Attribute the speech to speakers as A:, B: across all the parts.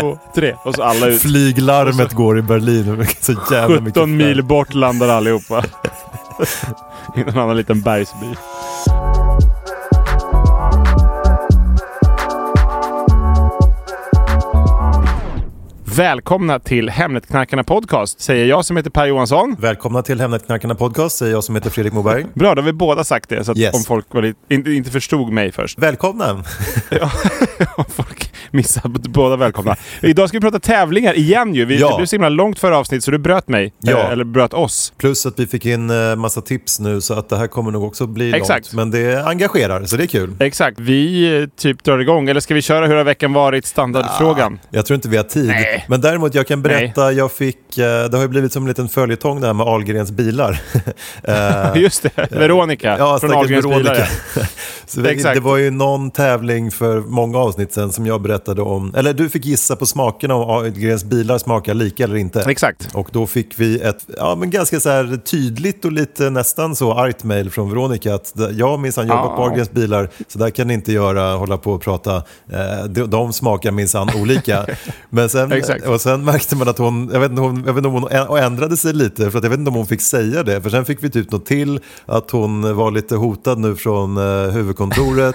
A: två, tre. Och så alla ut.
B: Flyglarmet går i Berlin. och Så jävla mycket
A: 17
B: flak.
A: mil bort landar allihopa. I någon annan liten bergsby. Välkomna till Hemnetknarkarna Podcast, säger jag som heter Per Johansson.
B: Välkomna till Hemnetknarkarna Podcast, säger jag som heter Fredrik Moberg.
A: Bra, då har vi båda sagt det, så att
B: Yes.
A: om folk var lite, inte, inte förstod mig först.
B: Välkomna!
A: Ja, om folk missade, båda välkomna. Idag ska vi prata tävlingar igen ju. Vi,
B: Ja.
A: Det blev så himla långt förra avsnitt så du bröt mig,
B: Ja.
A: eh, eller bröt oss.
B: Plus att vi fick in eh, massa tips nu så att det här kommer nog också bli
A: Exakt.
B: långt. Men det engagerar, så det är kul.
A: Exakt, vi eh, typ drar igång. Eller ska vi köra hur har veckan varit? Standardfrågan.
B: Jag tror inte vi har tid.
A: Nej.
B: Men däremot jag kan berätta, jag fick, eh, det har ju blivit som en liten följetong det här med Ahlgrens bilar. Eh,
A: Just det, Veronica
B: Ja,
A: från
B: stackars
A: Ahlgrens
B: Veronica.
A: Bilar.
B: Så det,
A: Exakt.
B: det var ju någon tävling för många avsnitt sedan som jag berättade om. Eller du fick gissa på smakerna om Ahlgrens bilar smakar lika eller inte.
A: ja. Exakt.
B: Och då fick vi ett ja, men ganska så här tydligt och lite nästan så argt mejl från Veronica att d- jag minsann jobbat
A: Ja.
B: på Ahlgrens bilar så där kan ni inte göra, hålla på och prata. Eh, de, de smakar minsann olika. Men sen,
A: Exakt.
B: och sen märkte man att hon, jag vet inte, hon, jag vet inte om hon ä- och ändrade sig lite för att jag vet inte om hon fick säga det. För sen fick vi typ något till att hon var lite hotad nu från eh, huvudkontoret.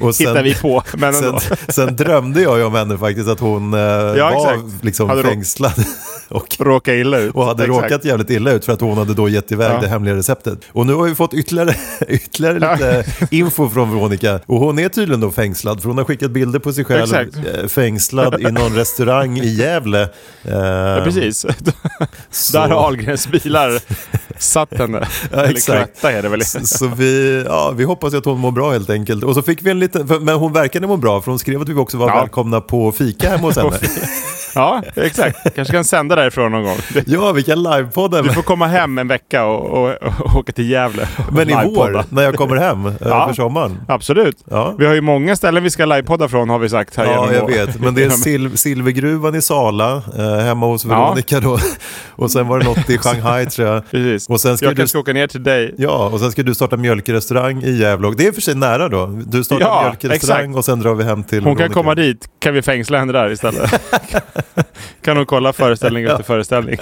B: och
A: Hittar vi på, men ändå.
B: Sen, sen drömde jag ju om henne faktiskt, att hon eh,
A: exakt.
B: var liksom
A: Hade rå-
B: fängslad. och
A: Råka illa ut.
B: och hade
A: Exakt.
B: råkat jävligt illa ut för att hon hade då gett iväg
A: Ja.
B: det hemliga receptet. Och nu har vi fått ytterligare, ytterligare
A: Ja.
B: lite info från Veronica. Och hon är tydligen då fängslad för hon har skickat bilder på sig själv
A: Exakt.
B: eh, fängslad i någon restaurang i Gävle. Eh,
A: Ja, precis. Där har Ahlgrens Bilar satt henne. Eller
B: exakt.
A: knötta är det väl.
B: Så vi, ja, vi hoppas ju att hon mår bra helt enkelt. Och så fick vi en liten, för, men hon verkade må bra för hon skrev att vi också var
A: Ja.
B: välkomna på fika hemma hos henne.
A: Ja, exakt. Kanske kan sända därifrån någon gång.
B: ja, vi kan livepodda.
A: Du får komma hem en vecka och, och, och åka till Gävle. och
B: Men i vår,
A: livepodda.
B: när jag kommer hem eh,
A: Ja.
B: för sommaren.
A: Absolut.
B: Ja.
A: Vi har ju många ställen vi ska livepodda från har vi sagt här
B: Ja,
A: genom
B: jag
A: å-
B: vet. Men det är sil silvergruvan i Sala, eh, hemma hos Veronica då. Och sen var det något i Shanghai tror jag.
A: Precis.
B: Och sen ska
A: jag
B: du...
A: kanske ska åka ner till dig.
B: Ja, och sen ska du starta mjölkrestaurang i Gävle. Och Det är i och för sig nära då. Du startar
A: Ja,
B: mjölkrestaurang
A: exakt.
B: och sen drar vi hem till
A: Hon kan
B: Veronica.
A: komma dit, kan vi fängsla henne där istället? kan hon kolla föreställning efter föreställning?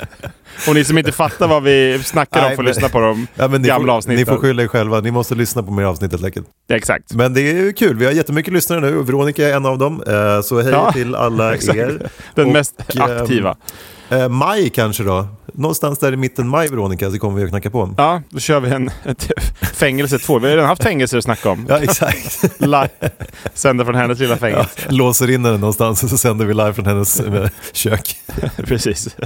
A: Och ni som inte fattar vad vi snackar om
B: Nej,
A: får
B: men-
A: lyssna på de
B: Ja, men ni,
A: gamla
B: får,
A: avsnitten.
B: ni får skylla er själva, ni måste lyssna på mer avsnitt helt enkelt.
A: Exakt.
B: Men det är ju kul, vi har jättemycket lyssnare nu och Veronica är en av dem. Eh, Så hej
A: Ja,
B: till alla
A: exakt.
B: er.
A: Den
B: Och,
A: mest
B: ehm,
A: aktiva.
B: Eh, Maj kanske då? Någonstans där i mitten maj Veronica så kommer vi att knacka på.
A: Ja, då kör vi en ett fängelse två. Vi har redan haft fängelser att snacka om.
B: Ja, exakt.
A: La- Sända från hennes lilla fängelse.
B: Låser in henne någonstans och så sänder vi live från hennes eh, kök.
A: Precis,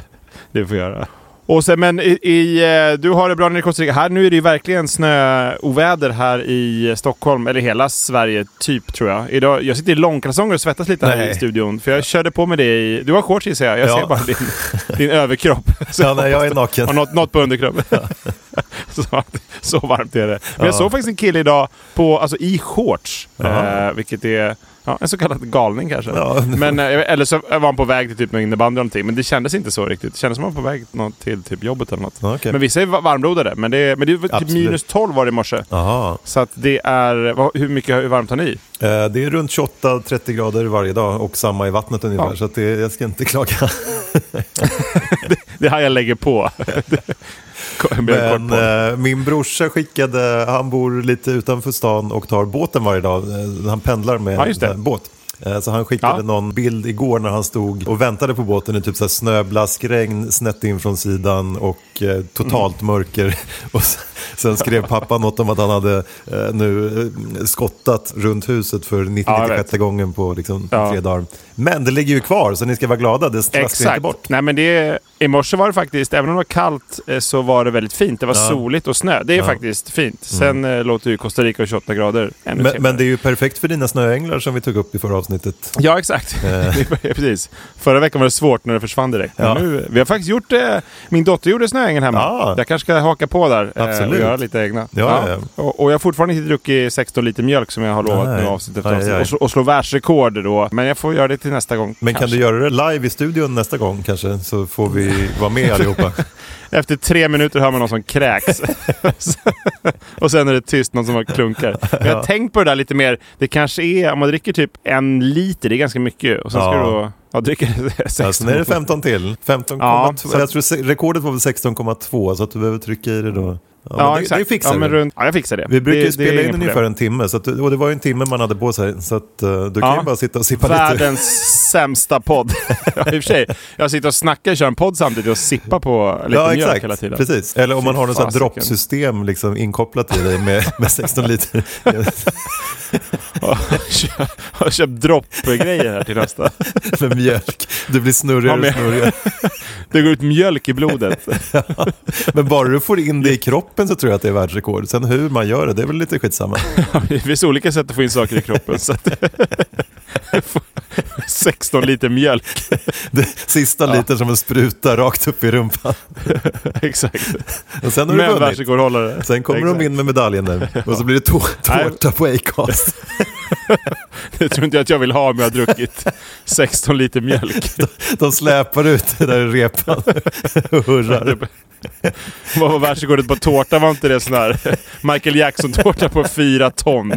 A: det får jag göra. Och sen, men i, i, eh, du har det bra nere i Costa Rica. Här, nu är det ju verkligen snöoväder här i Stockholm, eller hela Sverige typ tror jag. Idag, jag sitter i långkalsonger och svettas lite här
B: Nej.
A: i studion. För jag körde på med det i... Du har shorts gissar jag. Jag
B: Ja.
A: ser bara din, din överkropp. Så
B: Ja, nej, jag är
A: hoppas du Har
B: naken.
A: något, något på underkroppen. så, så varmt är det. Men jag
B: Ja.
A: såg faktiskt en kille idag på, alltså, i shorts.
B: Jaha.
A: Eh, vilket är ja, en så kallad galning kanske.
B: Ja.
A: Men, eh, eller så var han på väg till typ någon innebandy eller någonting. Men det kändes inte så riktigt. Det kändes som att han var på väg nå- till typ jobbet eller något.
B: Ja, okej.
A: Men vissa är va- varmblodade. Men det, är- men det är typ
B: Absolut.
A: minus 12 var det i morse.
B: Jaha.
A: Så att det är... Vad, hur mycket hur varmt har ni?
B: Eh, Det är runt 28-30 grader varje dag och samma i vattnet ungefär.
A: Ja.
B: Så att det, jag ska inte klaga.
A: Det här jag lägger på. Det- jag blir kort
B: Men
A: på.
B: eh, min brorsa skickade, han bor lite utanför stan och tar båten varje dag. Eh, Han pendlar med
A: Ja, just det.
B: en båt. Eh, Så han skickade
A: Ja.
B: någon bild igår när han stod och väntade på båten i typ så här snöblask, regn snett in från sidan och eh, totalt
A: Mm.
B: mörker. Och sen, sen skrev pappa något om att han hade eh, nu eh, skottat runt huset för 90
A: Ja, jag vet.
B: 96 gången på liksom,
A: Ja.
B: tre dagar. Men det ligger ju kvar så ni ska vara glada, det traskar inte
A: Exakt.
B: bort.
A: Nej, men det, I morse var det faktiskt, även om det var kallt, eh, så var det väldigt fint. Det var soligt och snö. Det är faktiskt fint. Sen eh, låter ju Costa Rica och 28 grader ännu
B: Mm. Men,
A: trevligare.
B: men det är ju perfekt för dina snöänglar som vi tog upp i förra avsnittet.
A: Ja, exakt.
B: Eh.
A: Det var- Precis. Förra veckan var det svårt när det försvann direkt. Men
B: Ja.
A: Nu, vi har faktiskt gjort... Eh, min dotter gjorde snöängen hemma.
B: Ja.
A: Jag kanske ska haka på där eh,
B: Absolut.
A: och göra lite egna.
B: ja, ja.
A: Och, och jag har fortfarande inte druckit 16 liter mjölk som jag har lovat
B: Nej.
A: nu avsnitt efter
B: Aj,
A: avsnitt.
B: aj.
A: Och, slå- och slå världsrekord då. Men jag får göra det till nästa gång.
B: Men kan
A: kanske.
B: du göra det live i studion nästa gång kanske så får vi vara med allihopa.
A: Efter tre minuter hör man någon som kräks. och sen är det tyst, någon som bara klunkar. Men jag har tänkt på det där lite mer. Det kanske är, om man dricker typ en liter, det är ganska mycket. Och sen ska
B: Ja.
A: du då ja, dricka 16.
B: Ja, sen är det 15 till. 15,
A: Ja, så-
B: jag tror se- rekordet var väl 16,2 så att du behöver trycka i det då. Ja,
A: Ja,
B: men det,
A: exakt.
B: det fixar
A: ja, men
B: vi.
A: runt, ja, jag fixar det.
B: Vi brukar
A: det,
B: ju spela
A: det är
B: in
A: inga problem.
B: ungefär en timme, så att, och det var ju en timme man hade på sig. Så att, eh, du kan
A: Ja.
B: ju bara sitta och sippa lite.
A: Världens sämsta podd. ja, i och för sig. Jag sitter och snackar och kör en podd samtidigt och sippar på lite
B: Ja,
A: mjölk
B: exakt.
A: hela tiden.
B: Precis. Eller om man har något sånt här
A: fasiken.
B: droppsystem liksom inkopplat i dig med, med 16 liter.
A: Och kö- Har köpt droppgrejer här till nästa.
B: med mjölk. Du blir
A: Ja,
B: snurrigare
A: men-
B: och snurrigare.
A: Det går ut mjölk i blodet.
B: Men bara du får in det i kroppen så tror jag att det är världsrekord. Sen hur man gör det, det är väl lite skitsamma.
A: Det finns olika sätt att få in saker i kroppen. Så att 16 liter mjölk.
B: Det, sista liter som en spruta rakt upp i rumpan.
A: Exakt.
B: Och sen har du
A: Men
B: vunnit.
A: världsrekordhållare.
B: Sen kommer
A: Exakt.
B: de in med medaljen där och så blir det tå-
A: Nej.
B: tårta på Acast.
A: Det tror inte jag att jag vill ha om jag har druckit 16 liter mjölk.
B: De släpar ut det där i repan och hurrar.
A: Vad var världsrekordet på tårta? Var inte det sån här Michael Jackson-tårta på fyra ton?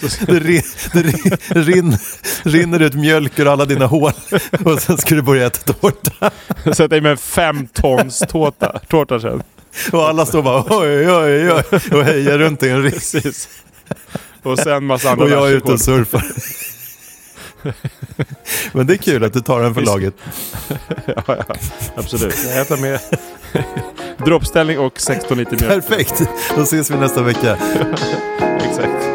B: Det, rin, det rin, rin, rinner ut mjölk ur alla dina hål och sen ska du börja äta tårta.
A: Sätt dig med en fem tons tårta, tårta sen.
B: Och alla står bara oj, oj, oj och hejar runt i en ring.
A: Precis. Och sen massa andra
B: Och jag är ute
A: världsrekord.
B: och surfar. Men det är kul att du tar den för laget.
A: Absolut. Jag tar med droppställning och 16 liter mjölk.
B: Perfekt, då ses vi nästa vecka.
A: Exakt.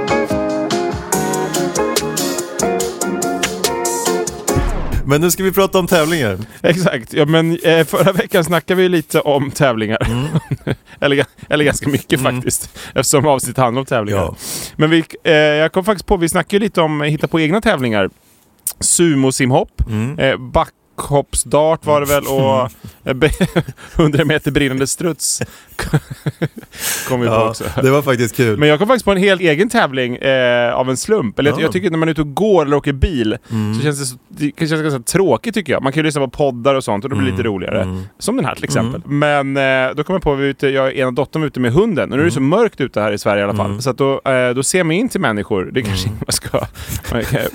B: Men nu ska vi prata om tävlingar.
A: Exakt, ja, men eh, förra veckan snackade vi ju lite om tävlingar.
B: Mm.
A: eller, ga- eller ganska mycket faktiskt, eftersom avsnittet handlar om tävlingar.
B: Ja.
A: Men vi, eh, jag kom faktiskt på, vi snackade ju lite om att hitta på egna tävlingar. Sumosimhopp, eh, backhoppsdart var det väl och eh, be- 100 meter brinnande struts. kom vi på
B: Ja,
A: också.
B: det var faktiskt kul.
A: Men jag kom faktiskt på en helt egen tävling eh, av en slump. Eller jag,
B: Ja.
A: jag tycker när man är ute och går eller åker bil så känns det, så, det kan kännas ganska tråkigt tycker jag. Man kan ju lyssna på poddar och sånt och då blir det lite roligare. Som den här till exempel. Men eh, då kom jag på att vi är ute, jag och ena dottern var ute med hunden. Och nu är det så mörkt ute här i Sverige i alla fall. Så att då, eh, då ser man in till människor. Det kanske man ska... Man kan,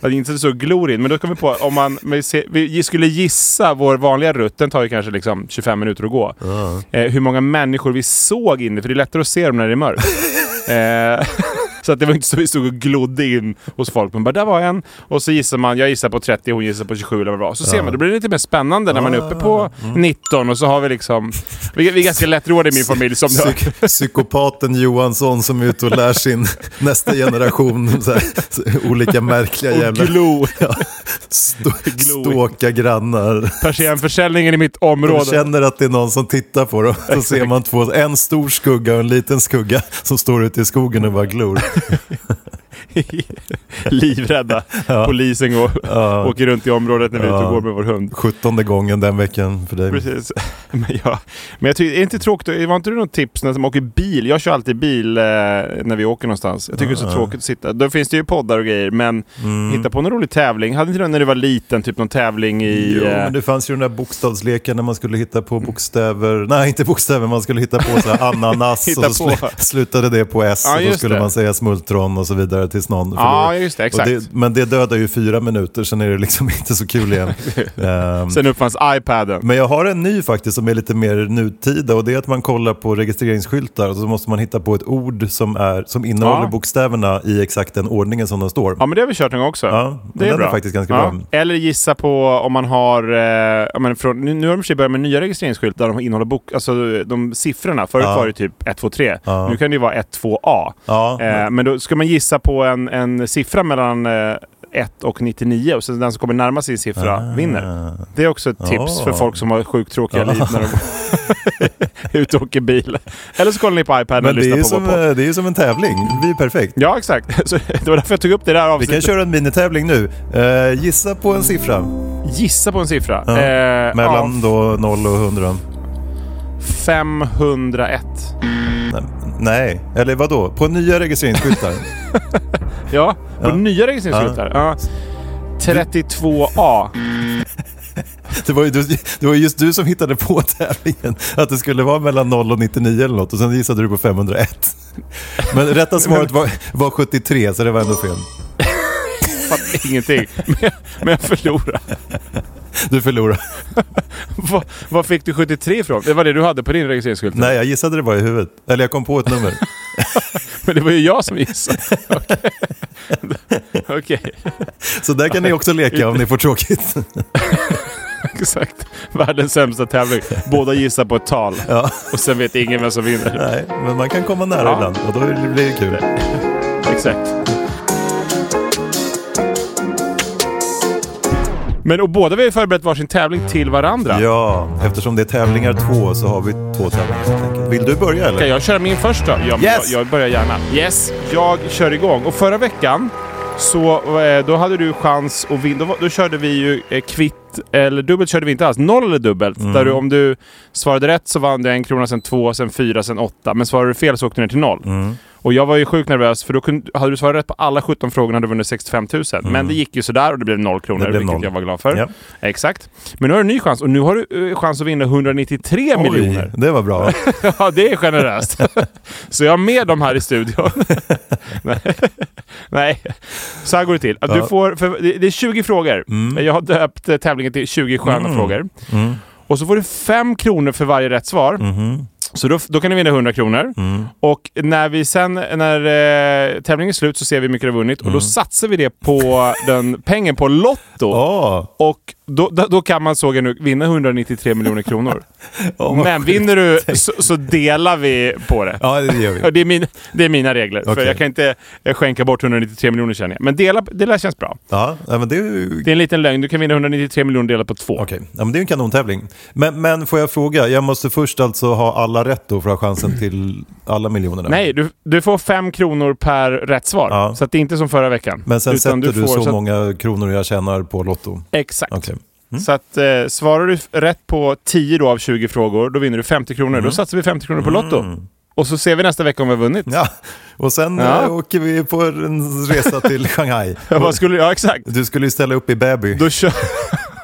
A: Ja, det är inte så glor in, men då kom vi på om man vi ser, vi skulle gissa vår vanliga rutt, den tar ju kanske liksom 25 minuter att gå. Eh, hur många människor vi såg inne, för det är lättare att se dem när det är mörkt. eh, så att det var inte så vi stod och glodde in hos folk. Men bara, där var en. Och så gissar man, jag gissar på 30, hon gissar på 27 eller vad det var. Så ser man, då blir det lite mer spännande när man är uppe
B: Ah.
A: på
B: Mm.
A: 19 och så har vi liksom... Vi, vi är ganska lättroade i min familj som du
B: Psyk psykopaten Johansson som är ute och lär sin nästa generation så här, så, olika märkliga jävla...
A: Och glo.
B: Stå,
A: glo.
B: ståka grannar.
A: Persiennförsäljningen i mitt
B: De
A: område.
B: känner att det är någon som tittar på dem. Så ser man två, en stor skugga och en liten skugga som står ute i skogen och bara glor.
A: livrädda. Polisen går, åker runt i området när vi är ute och går med vår hund.
B: Sjuttonde gången den veckan för dig.
A: Precis. Men, ja. Men jag tycker, är det inte tråkigt, var inte det något tips när man åker bil? Jag kör alltid bil eh, när vi åker någonstans. Jag tycker det är så tråkigt att sitta. Då finns det ju poddar och grejer, men
B: Mm.
A: hitta på någon rolig tävling. Hade inte du när du var liten, typ någon tävling i...
B: Jo,
A: eh,
B: men det fanns ju den där bokstavsleken när man skulle hitta på bokstäver. Nej, inte bokstäver, man skulle hitta på så här ananas
A: Hitta
B: och så slu-
A: på.
B: slutade det på S
A: Ja,
B: och då
A: just
B: skulle
A: det.
B: man säga smultron och så vidare. vidare tills någon
A: Ja, just det. Exakt.
B: Och det, men det dödar ju fyra minuter, sen är det liksom inte så kul igen. Ehm,
A: Sen uppfanns iPaden.
B: men jag har en ny faktiskt som är lite mer nutida och det är att man kollar på registreringsskyltar och så måste man hitta på ett ord som, är, som innehåller
A: Ja.
B: bokstäverna i exakt den ordningen som de står.
A: Ja, men det har vi kört en gång också.
B: Ja, men den är faktiskt ganska bra.
A: Eller gissa på om man har... Eh, ja, men från, nu, nu har de i och för sig börjat med nya registreringsskyltar där de innehåller bok, alltså, de siffrorna. Förut var det typ 1, 2, 3. Nu kan det ju vara 1, 2, A.
B: Ja,
A: eh, men då ska man gissa på en, en siffra mellan eh, 1 och 99 och sen den som kommer närmast sin siffra vinner. Det är också ett tips
B: Ah.
A: för folk som har sjukt tråkiga liv när de är ute och åker bil. Eller så kollar ni på iPaden och
B: Men det är,
A: lyssnar
B: ju
A: på vår
B: som,
A: podd.
B: eh, det är ju som en tävling, vi är perfekt.
A: Ja, exakt. Så, det var därför jag tog upp det där
B: Vi
A: avsnittet.
B: kan köra en minitävling nu. Eh, gissa på en siffra
A: Eh, Gissa på en siffra.
B: Ja.
A: Eh,
B: mellan
A: ja,
B: då 0 och 100.
A: 501.
B: Nej, eller vad då? På nya registreringsskyltar.
A: Ja, på nya registreringsskyltar. Ja. 32A.
B: det, var ju, du- det var ju just du som hittade på tävlingen. Att det skulle vara mellan 0 och 99 eller något och sen gissade du på 501. Men rätta svaret var, var 73 så det var ändå fel.
A: Fattar ingenting. Men, jag- men jag förlorade.
B: Du förlorade.
A: Vad, vad fick du 73 ifrån? Det var det du hade på din registreringsskylt?
B: Nej, jag gissade det bara i huvudet. Eller jag kom på ett nummer.
A: Men det var ju jag som gissade. Okej, Okej.
B: Så där kan ni också leka om ni får tråkigt.
A: exakt. Världens sämsta tävling. Båda gissar på ett tal. Och sen vet ingen vem som vinner.
B: Nej, men man kan komma nära
A: Ja.
B: ibland och då blir det kul.
A: Exakt. Men och båda vi har ju förberett varsin tävling till varandra.
B: Ja, eftersom det är tävlingar två så har vi två tävlingar helt enkelt. Vill du börja eller?
A: Ska jag köra min först då? Ja, men
B: Yes!
A: jag, jag börjar gärna. Yes, jag kör igång. Och förra veckan så eh, då hade du chans att vinna. Då, var- då körde vi ju eh, kvitt, eller dubbelt körde vi inte alls. Noll eller dubbelt.
B: Mm.
A: Där du, om du svarade rätt så vann du en krona, sen två, sen fyra, sen åtta. Men svarade du fel så åkte du ner till noll.
B: Mm.
A: Och jag var ju sjukt nervös för då kunde, hade du svarat rätt på alla 17 frågorna hade du vunnit 65 000. Men det gick ju sådär och det blev noll kronor,
B: Mm. Det blev
A: vilket
B: noll.
A: jag var glad för.
B: Ja.
A: Exakt. Men nu har du en ny chans och nu har du eh, chans att vinna 193 miljoner.
B: Oj, det var bra.
A: Ja, det är generöst. Så jag har med dem här i studion. Nej. Nej, så här går det till. Du får, för det det är 20 frågor. Jag har döpt eh, tävlingen till 20 sköna frågor. Och så får du 5 kronor för varje rätt svar. Så då, då kan du vinna 100 kronor. Och när, vi sen, när eh, tävlingen är slut så ser vi hur mycket du har vunnit. Och då satsar vi det på den pengen på Lotto.
B: Åh,
A: Och då, då, då kan man, såg jag nu, vinna 193 miljoner kronor.
B: åh, vad
A: Men
B: sjukt.
A: vinner du så, så delar vi på det.
B: Ja, det gör
A: Ja,
B: vi.
A: Det är, min, det är mina regler, för
B: Okej.
A: jag kan inte eh, skänka bort 193 miljoner känner jag. Men dela, dela känns bra.
B: Ja, ja, men det är ju...
A: Det är en liten lögn, du kan vinna 193 miljoner delat på två.
B: Okej, ja, men det är ju en kanontävling. Men, men får jag fråga, jag måste först alltså ha alla rätt då för att ha chansen till alla miljonerna?
A: Nej, du, du får fem kronor per rätt svar.
B: Ja.
A: Så att det är inte som förra veckan.
B: Men sen
A: Utan
B: sätter du,
A: får-
B: så,
A: att-
B: många kronor jag tjänar på Lotto?
A: Exakt.
B: Okej. Mm.
A: Så att eh, svarar du f- rätt på 10 då av 20 frågor, då vinner du 50 kronor.
B: Mm.
A: Då satsar vi 50 kronor på Lotto. Och så ser vi nästa vecka om vi har vunnit.
B: Ja, och sen
A: Ja.
B: eh, åker vi på en resa till Shanghai.
A: Vad skulle, ja exakt.
B: Du skulle ju ställa upp i Baby.
A: Då kör...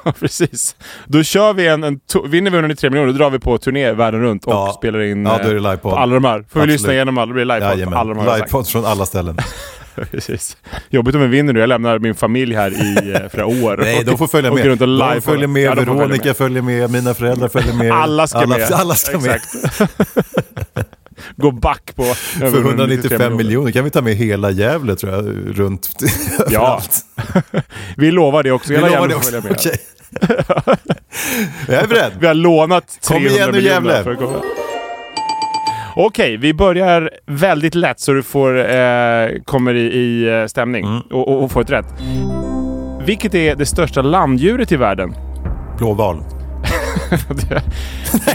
A: Ja, Precis. Då kör vi en... en to- vinner vi 193 miljoner, då drar vi på turné världen runt och
B: Ja.
A: spelar in
B: Ja, då är det
A: eh,
B: livepodd.
A: på alla de här. Får
B: Absolut.
A: vi lyssna igenom alla, då blir det livepodd på
B: Jajamän.
A: alla de här. Livepodd.
B: Livepodd från alla ställen.
A: Precis. Jobbigt om vi vinner nu. Jag lämnar min familj här i eh, flera år.
B: Nej, de får följa
A: Och
B: med.
A: går runt och
B: de
A: livepodda.
B: följer med,
A: Ja, de får följa
B: Veronica följer med, mina föräldrar följer med.
A: Alla ska med.
B: Alla ska med.
A: Exakt. Gå back på...
B: För 195 miljoner kan vi ta med hela Gävle tror jag, runt
A: Ja.
B: överallt.
A: Vi lovar det också.
B: Vi
A: Hela
B: lovar
A: Gävle
B: det
A: får
B: också.
A: följa med.
B: Okej. jag är beredd.
A: Vi har lånat
B: Kom
A: 300
B: igen nu, Gävle.
A: miljoner för att komma. Okej, vi börjar väldigt lätt så du får, eh, kommer i, i eh, stämning
B: Mm.
A: och, och, och får ett rätt. Vilket är det största landdjuret i världen?
B: Blåval.
A: Det,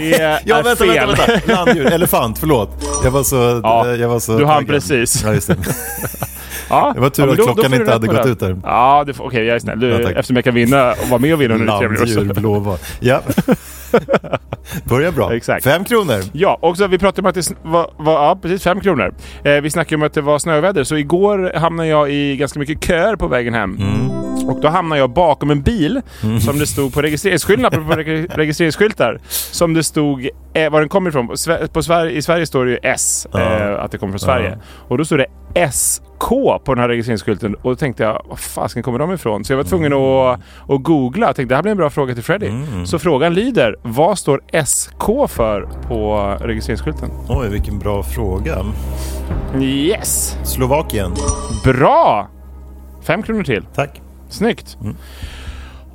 A: det är
B: Ja, vänta,
A: Äh, fel.
B: vänta, vänta. Landdjur, elefant, förlåt. Jag var så...
A: Ja,
B: jag var så
A: du hann
B: taggad.
A: precis.
B: Ja, just det.
A: Ja,
B: Det var tur
A: men
B: att klockan
A: får du
B: inte
A: rätt
B: hade
A: på
B: gått
A: det.
B: ut där.
A: Ja, det får- okej, jag är snäll. Du,
B: Ja, tack.
A: eftersom jag kan vinna och vara med och vinna under tre minuter.
B: Landdjur,
A: så-
B: blåval. Ja. Börjar bra.
A: Exakt.
B: Fem kronor.
A: Ja, och så vi pratade om att det sn- var, var ja, precis fem kronor. Eh, vi snackade om att det var snöväder, så igår hamnade jag i ganska mycket köer på vägen hem.
B: Mm.
A: Och då hamnade jag bakom en bil som det stod på registreringsskyltarna, på reg- registreringsskyltar, som det stod eh, var den kommer ifrån. På Sve- På Sverige, I Sverige står det ju S, eh, att det kommer från Sverige. Och då stod det SK på den här registreringsskylten och då tänkte jag, var fasken kommer de ifrån? Så jag var tvungen att, att googla. Jag tänkte, det här blir en bra fråga till Freddy. Så frågan lyder, vad står SK för på registreringsskylten?
B: Oj, vilken bra fråga.
A: Yes!
B: Slovakien.
A: Bra! Fem kronor till.
B: Tack.
A: Snyggt!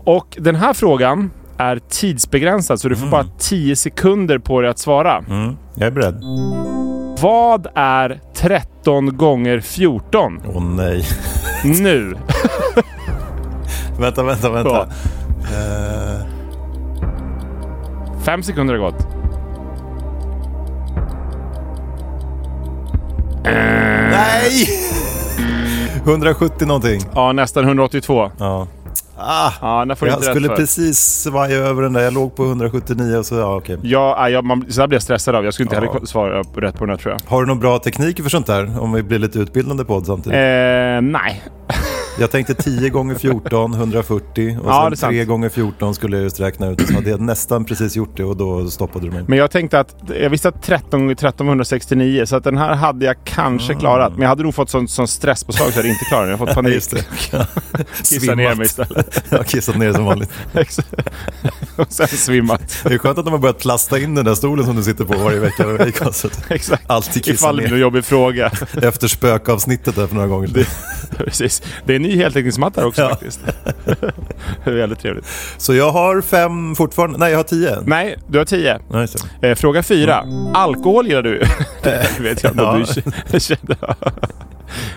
A: Och den här frågan är tidsbegränsad så du får bara 10 sekunder på dig att svara.
B: Jag är beredd.
A: Vad är 13 gånger 14
B: Åh nej.
A: nu?
B: vänta, vänta, vänta.
A: Ja. Eh. Fem sekunder har gått.
B: Nej! 170 någonting.
A: Ja, nästan 182.
B: Ja. Ah,
A: Ja, när får du
B: jag
A: inte
B: skulle
A: rätt för.
B: precis svaja över den där. Jag låg på 179 och så, ja okej.
A: Ja, nej, jag, man, så där blir jag stressad av. Jag skulle inte
B: Ja.
A: heller svara på- rätt på den här tror jag.
B: Har du någon bra teknik för sånt där? Om vi blir lite utbildande podd samtidigt.
A: Eh, nej.
B: Jag tänkte 10 gånger 14, 140 och
A: Ja, det är
B: sen 3
A: sant.
B: gånger 14 skulle jag just räkna ut. Så hade jag nästan precis gjort det och då stoppade du mig.
A: Men jag tänkte att jag visste att 13 gånger 13 var 169 så att den här hade jag kanske
B: Mm.
A: klarat. Men jag hade nog fått sån, sån stresspåslag så jag hade inte klarat den. Jag har fått panik.
B: Just det.
A: Kissa ner mig istället.
B: Jag har kissat ner som vanligt.
A: och sen svimmat.
B: Det är skönt att de har börjat plasta in den där stolen som du sitter på varje vecka i konsert.
A: Exakt.
B: Alltid kissa
A: Ifall det
B: ner.
A: blir någon jobbig fråga.
B: Efter spökavsnittet där för några gånger sedan.
A: Precis. Det är en ny heltäckningsmatta här också
B: Ja.
A: faktiskt. det är väldigt trevligt.
B: Så jag har fem fortfarande. Nej, jag har tio.
A: Nej, du har 10.
B: Nej, just det.
A: Eh, fråga fyra. Alkohol gillar du? det
B: Eh.
A: vet jag inte om du känner.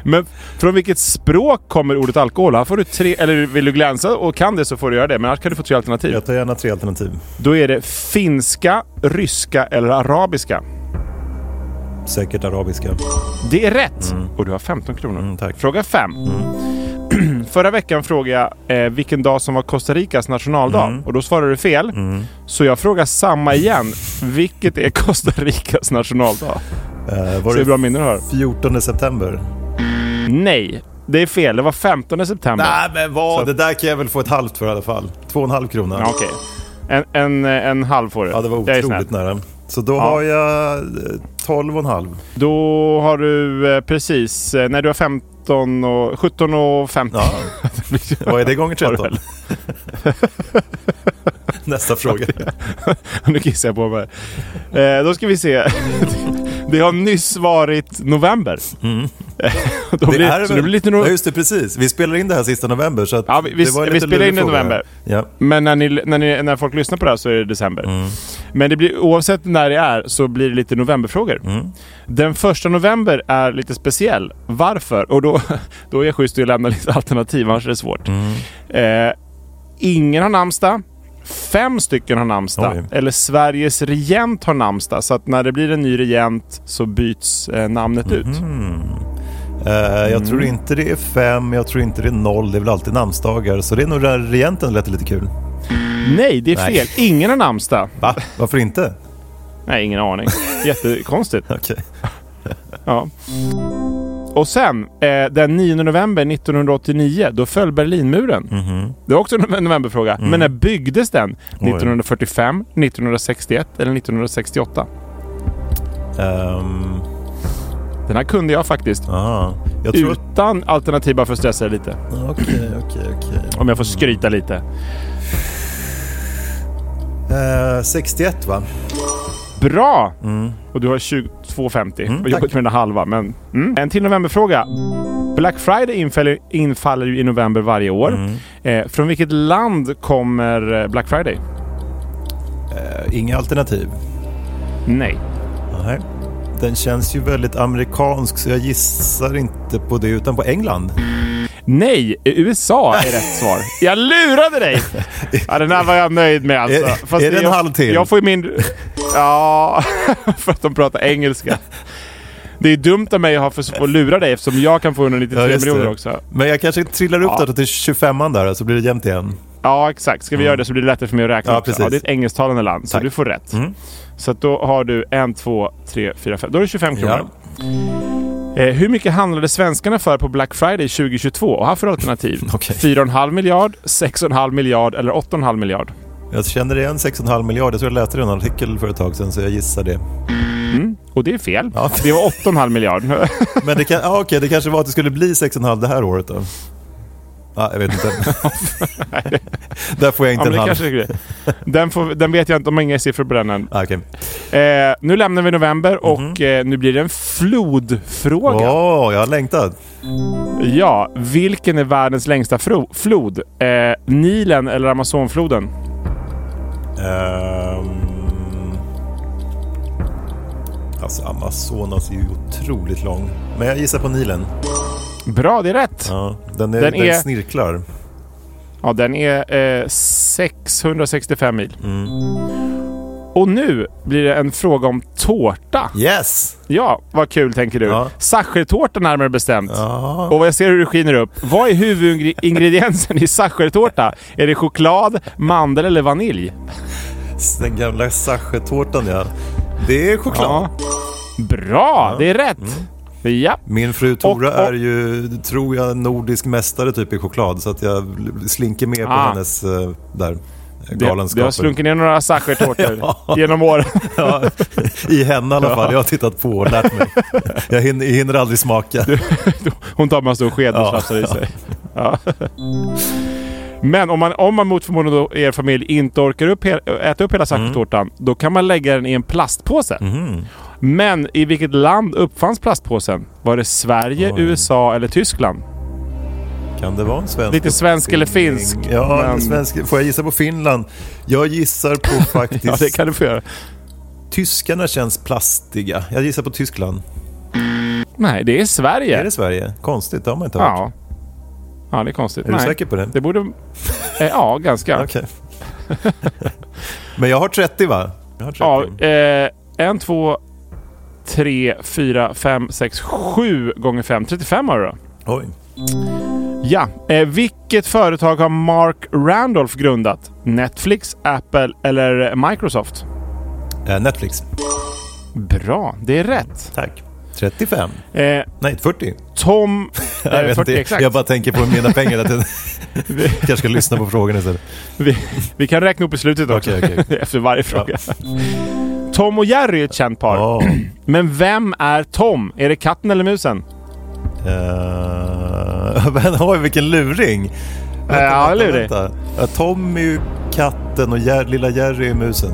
A: Men från vilket språk kommer ordet alkohol? Här får du tre, eller vill du glänsa och kan det så får du göra det. Men annars kan du få tre alternativ.
B: Jag tar gärna tre alternativ.
A: Då är det finska, ryska eller arabiska.
B: Säkert arabiska.
A: Det är rätt! Och du har 15 kronor.
B: Mm, tack.
A: Fråga 5. Förra veckan frågade jag eh, vilken dag som var Costa Ricas nationaldag
B: Mm.
A: och då svarade du fel. Så jag frågar samma igen. Vilket är Costa Ricas nationaldag?
B: Eh, var
A: Så det är
B: det
A: bra minne du har.
B: 14 september?
A: Nej, det är fel. Det var 15 september.
B: Nej, men vad? Det där kan jag väl få ett halvt för i alla fall. Två och en halv krona.
A: Ja, Okej. En, en, en halv får du.
B: Ja, det var
A: Jag är snäll.
B: otroligt nära. Så då har jag eh, 12 och en halv.
A: Då har du eh, precis... Eh, nej, du har 15 och... 17 och 15.
B: Ja. Vad är det gånger
A: Har du
B: 13? Nästa fråga.
A: Nu kissar jag på mig. Eh, då ska vi se. Det har nyss varit november. Då blir,
B: är
A: så
B: väl-
A: det blir lite
B: Ja,
A: no-
B: just det, precis. Vi spelar in det här sista november. Så att
A: Ja, vi- vi-
B: det var en
A: vi
B: lite
A: spelar
B: lurig
A: in i
B: fråga.
A: november.
B: Ja.
A: men när, ni, när, ni, när folk lyssnar på det här så är det december.
B: Mm.
A: Men det blir, oavsett när det är så blir det lite novemberfrågor.
B: Mm.
A: Den första november är lite speciell. Varför? Och då, då är jag schysst att lämna lite alternativ, annars är det svårt.
B: Mm.
A: Eh, ingen har namnsdag. Fem stycken har namnsdag.
B: Oj.
A: Eller Sveriges regent har namnsdag. Så att när det blir en ny regent så byts eh, namnet ut.
B: Mm-hmm. Eh, jag tror
A: Mm.
B: inte det är fem, jag tror inte det är noll. Det är väl alltid namnsdagar. Så det är nog där regenten lät lite kul.
A: Nej, det är
B: Nej.
A: fel. Ingen har namnsdag.
B: Va? Varför inte?
A: Nej, ingen aning. Jättekonstigt.
B: Okej.
A: Ja. Och sen, eh, den 9 november 1989, då föll Berlinmuren.
B: Mhm.
A: Det är också en novemberfråga.
B: Mm.
A: Men när byggdes den? 1945, 1961 eller 1968?
B: Ehm,
A: Den här kunde jag faktiskt.
B: aha. Jag tror att...
A: Utan alternativ bara för att stressa er lite.
B: Okej, okej, okej.
A: Om jag får skryta lite.
B: Eh, 61 va?
A: Bra!
B: Mm.
A: Och du har 22.50. och jobbat med den halva. Men, mm. En till novemberfråga. Black Friday infaller, infaller ju i november varje år.
B: Mm.
A: Eh, från vilket land kommer eh, Black Friday?
B: Eh, Inga alternativ.
A: Nej.
B: Nej. Den känns ju väldigt amerikansk så jag gissar inte på det utan på England.
A: Mm. Nej, USA är rätt svar. Jag lurade dig! Ja, den här var jag nöjd med alltså.
B: Är- är det en
A: jag,
B: halv till?
A: Jag får ju min... Ja, för att de pratar engelska. Det är dumt av mig att ha för att lura dig eftersom jag kan få 193
B: just det.
A: miljoner också.
B: Men jag kanske trillar upp
A: Ja.
B: där till 25an där så blir det jämnt igen.
A: Ja, exakt. Ska vi göra det så blir det lättare för mig att räkna
B: Mm. Ja,
A: också.
B: precis.
A: Ja, det är ett engelsktalande land, så
B: Tack. Mm.
A: du får rätt. Så att då har du en, två, tre, fyra, fem. Då är det 25 kronor. Eh, hur mycket handlade svenskarna för på Black Friday 2022? Och här får du alternativ.
B: Okej.
A: 4,5 miljard, 6,5 miljard eller 8,5 miljard.
B: Jag känner igen 6,5 miljarder så jag läste det i en artikel för ett tag sedan så jag gissar det.
A: Mm. Och det är fel.
B: Ja.
A: Det var 8,5 miljarder.
B: Men det, kan, ah, okej, det kanske var att det skulle bli 6,5 det här året då? Ah, jag vet inte. Där får jag
A: Ja,
B: inte
A: men
B: en
A: det
B: halv.
A: kanske är det. Den, får, den vet jag inte, de har inga siffror på den än.
B: Ah, okej.
A: Eh, nu lämnar vi november och
B: Mhm.
A: eh, nu blir det en flodfråga.
B: Åh, jag har längtat.
A: Ja, vilken är världens längsta fro- flod? Eh, Nilen eller Amazonfloden?
B: Ehm, Alltså Amazonas är ju otroligt lång. Men jag gissar på Nilen.
A: Bra, det är rätt! Ja,
B: Ja, den, är,
A: Den
B: den,
A: är-
B: snirklar.
A: den är eh, 665 mil. Och nu blir det en fråga om tårta.
B: Yes!
A: Ja, vad kul tänker du.
B: Ja.
A: Sachertårta närmare bestämt. Och vad jag ser hur du skiner upp. Vad är huvudingrediensen i sachertårta? Är det choklad, mandel eller vanilj?
B: Den gamla sachetårtan ja. Det är choklad.
A: Ja. Bra, det är rätt! Ja.
B: Min fru Tora
A: Och- och-
B: är ju, tror jag, nordisk mästare typ i choklad. Så att jag slinker med på
A: Ah.
B: hennes eh, där, eh,
A: Det, det har
B: galenskaper.
A: slunkit ner några sachertårtor genom åren.
B: ja, I henne i alla fall. Jag har tittat på och lärt mig. Jag hinner, jag hinner aldrig smaka.
A: Hon tar med en stor sked och
B: Ja.
A: slafsar i sig. Ja. Men om man, om man mot förmodan då, i er familj inte orkar upp he- äta upp hela
B: Mm.
A: sachertårtan, då kan man lägga den i en plastpåse.
B: Mhm.
A: Men i vilket land uppfanns plastpåsen? Var det Sverige, USA eller Tyskland?
B: Kan det vara en svensk?
A: Lite svensk eller finsk.
B: Ja,
A: men-
B: svensk. Får jag gissa på Finland? Jag gissar på faktiskt...
A: Ja, det kan du få göra.
B: Tyskarna känns plastiga. Jag gissar på Tyskland.
A: Nej, det är Sverige.
B: Är det Sverige? Konstigt, det har man inte hört.
A: Ja. Ja, det är konstigt.
B: Är du
A: Nej.
B: säker på det?
A: Det borde... Eh, ja, ganska.
B: Okej. Men jag har 30 va? Jag har 30.
A: Ja, eh, en, två, tre, fyra, fem, sex, sju gånger fem. 35 har du då.
B: Oj.
A: Ja. Eh, vilket företag har Mark Randolph grundat? Netflix, Apple eller Microsoft?
B: Eh, Netflix.
A: Bra, det är rätt.
B: Tack. 35.
A: Eh,
B: Nej, 40.
A: Tom...
B: Jag,
A: Eh,
B: vet
A: 40,
B: inte.
A: exakt.
B: jag bara tänker på mina pengar. Att jag kanske ska lyssna på frågan istället.
A: Vi, vi kan räkna upp i slutet också.
B: Okej, okej.
A: Efter varje fråga. Tom och Jerry är ett känt par.
B: Ja.
A: Men vem är Tom? Är det katten eller musen?
B: Eh, men oj, vilken luring.
A: Ja, lurig.
B: Ja, Tom är ju Eh, katten och Jer- lilla Jerry är musen.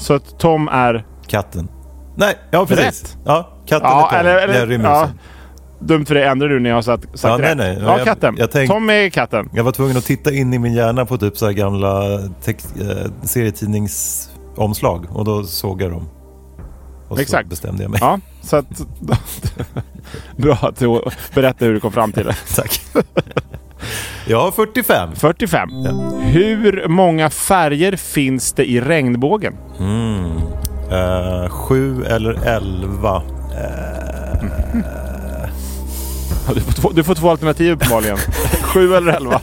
A: Så att Tom är...
B: Katten. Nej, ja precis.
A: Rätt.
B: Ja, katten är Tom, Jerry är musen.
A: ja. Dumt för det ändrar du när jag har sagt, sagt
B: Ja, nej,
A: rätt.
B: nej.
A: Ja,
B: Jag-
A: katten.
B: jag tänk-
A: Tom är katten.
B: Jag var tvungen att titta in i min hjärna på typ så här gamla text, eh, serietidningsomslag och då såg jag dem. Och
A: Exakt.
B: så bestämde jag mig.
A: Ja, så att... Bra att du berättar hur du kom fram till det.
B: Tack. Jag har 45.
A: 45. Hur många färger finns det i regnbågen?
B: Eh, sju eller elva. Eh,
A: Ja, Du får två, du får två alternativ uppenbarligen. Sju eller elva.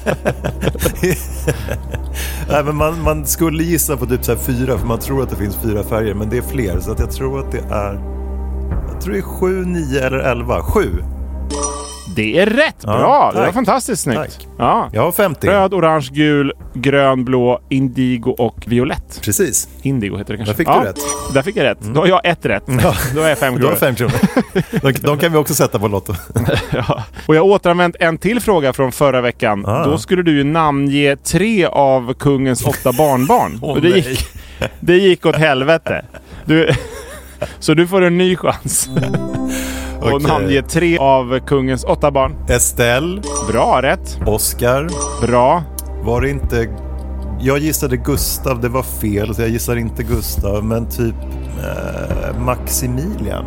B: Nej, men man, man skulle gissa på typ så här fyra för man tror att det finns fyra färger men det är fler så att jag tror att det är jag tror det är sju, nio eller elva. Sju.
A: Det är rätt!
B: Ja,
A: Bra! det var
B: tack.
A: fantastiskt snyggt.
B: Tack.
A: Ja.
B: Jag har 50.
A: Röd, orange, gul, grön, blå, indigo och violett.
B: Precis.
A: Indigo heter det kanske.
B: Där fick du rätt. Mm.
A: Där fick jag rätt. Då har jag ett rätt. Då har jag fem
B: Du
A: kronor.
B: har fem kronor. De, de kan vi också sätta på Lotto.
A: Ja. Och jag har återanvänt en till fråga från förra veckan.
B: Ah.
A: Då skulle du ju namnge tre av kungens åtta barnbarn.
B: Åh,
A: och det,
B: nej.
A: gick, det gick åt helvete. Du, så du får en ny chans och
B: Okej.
A: namnge tre av kungens åtta barn.
B: Estelle,
A: Bra rätt.
B: Oscar,
A: Bra.
B: var det inte... Jag gissade Gustav, det var fel, så jag gissar inte Gustav, men typ eh, Maximilian.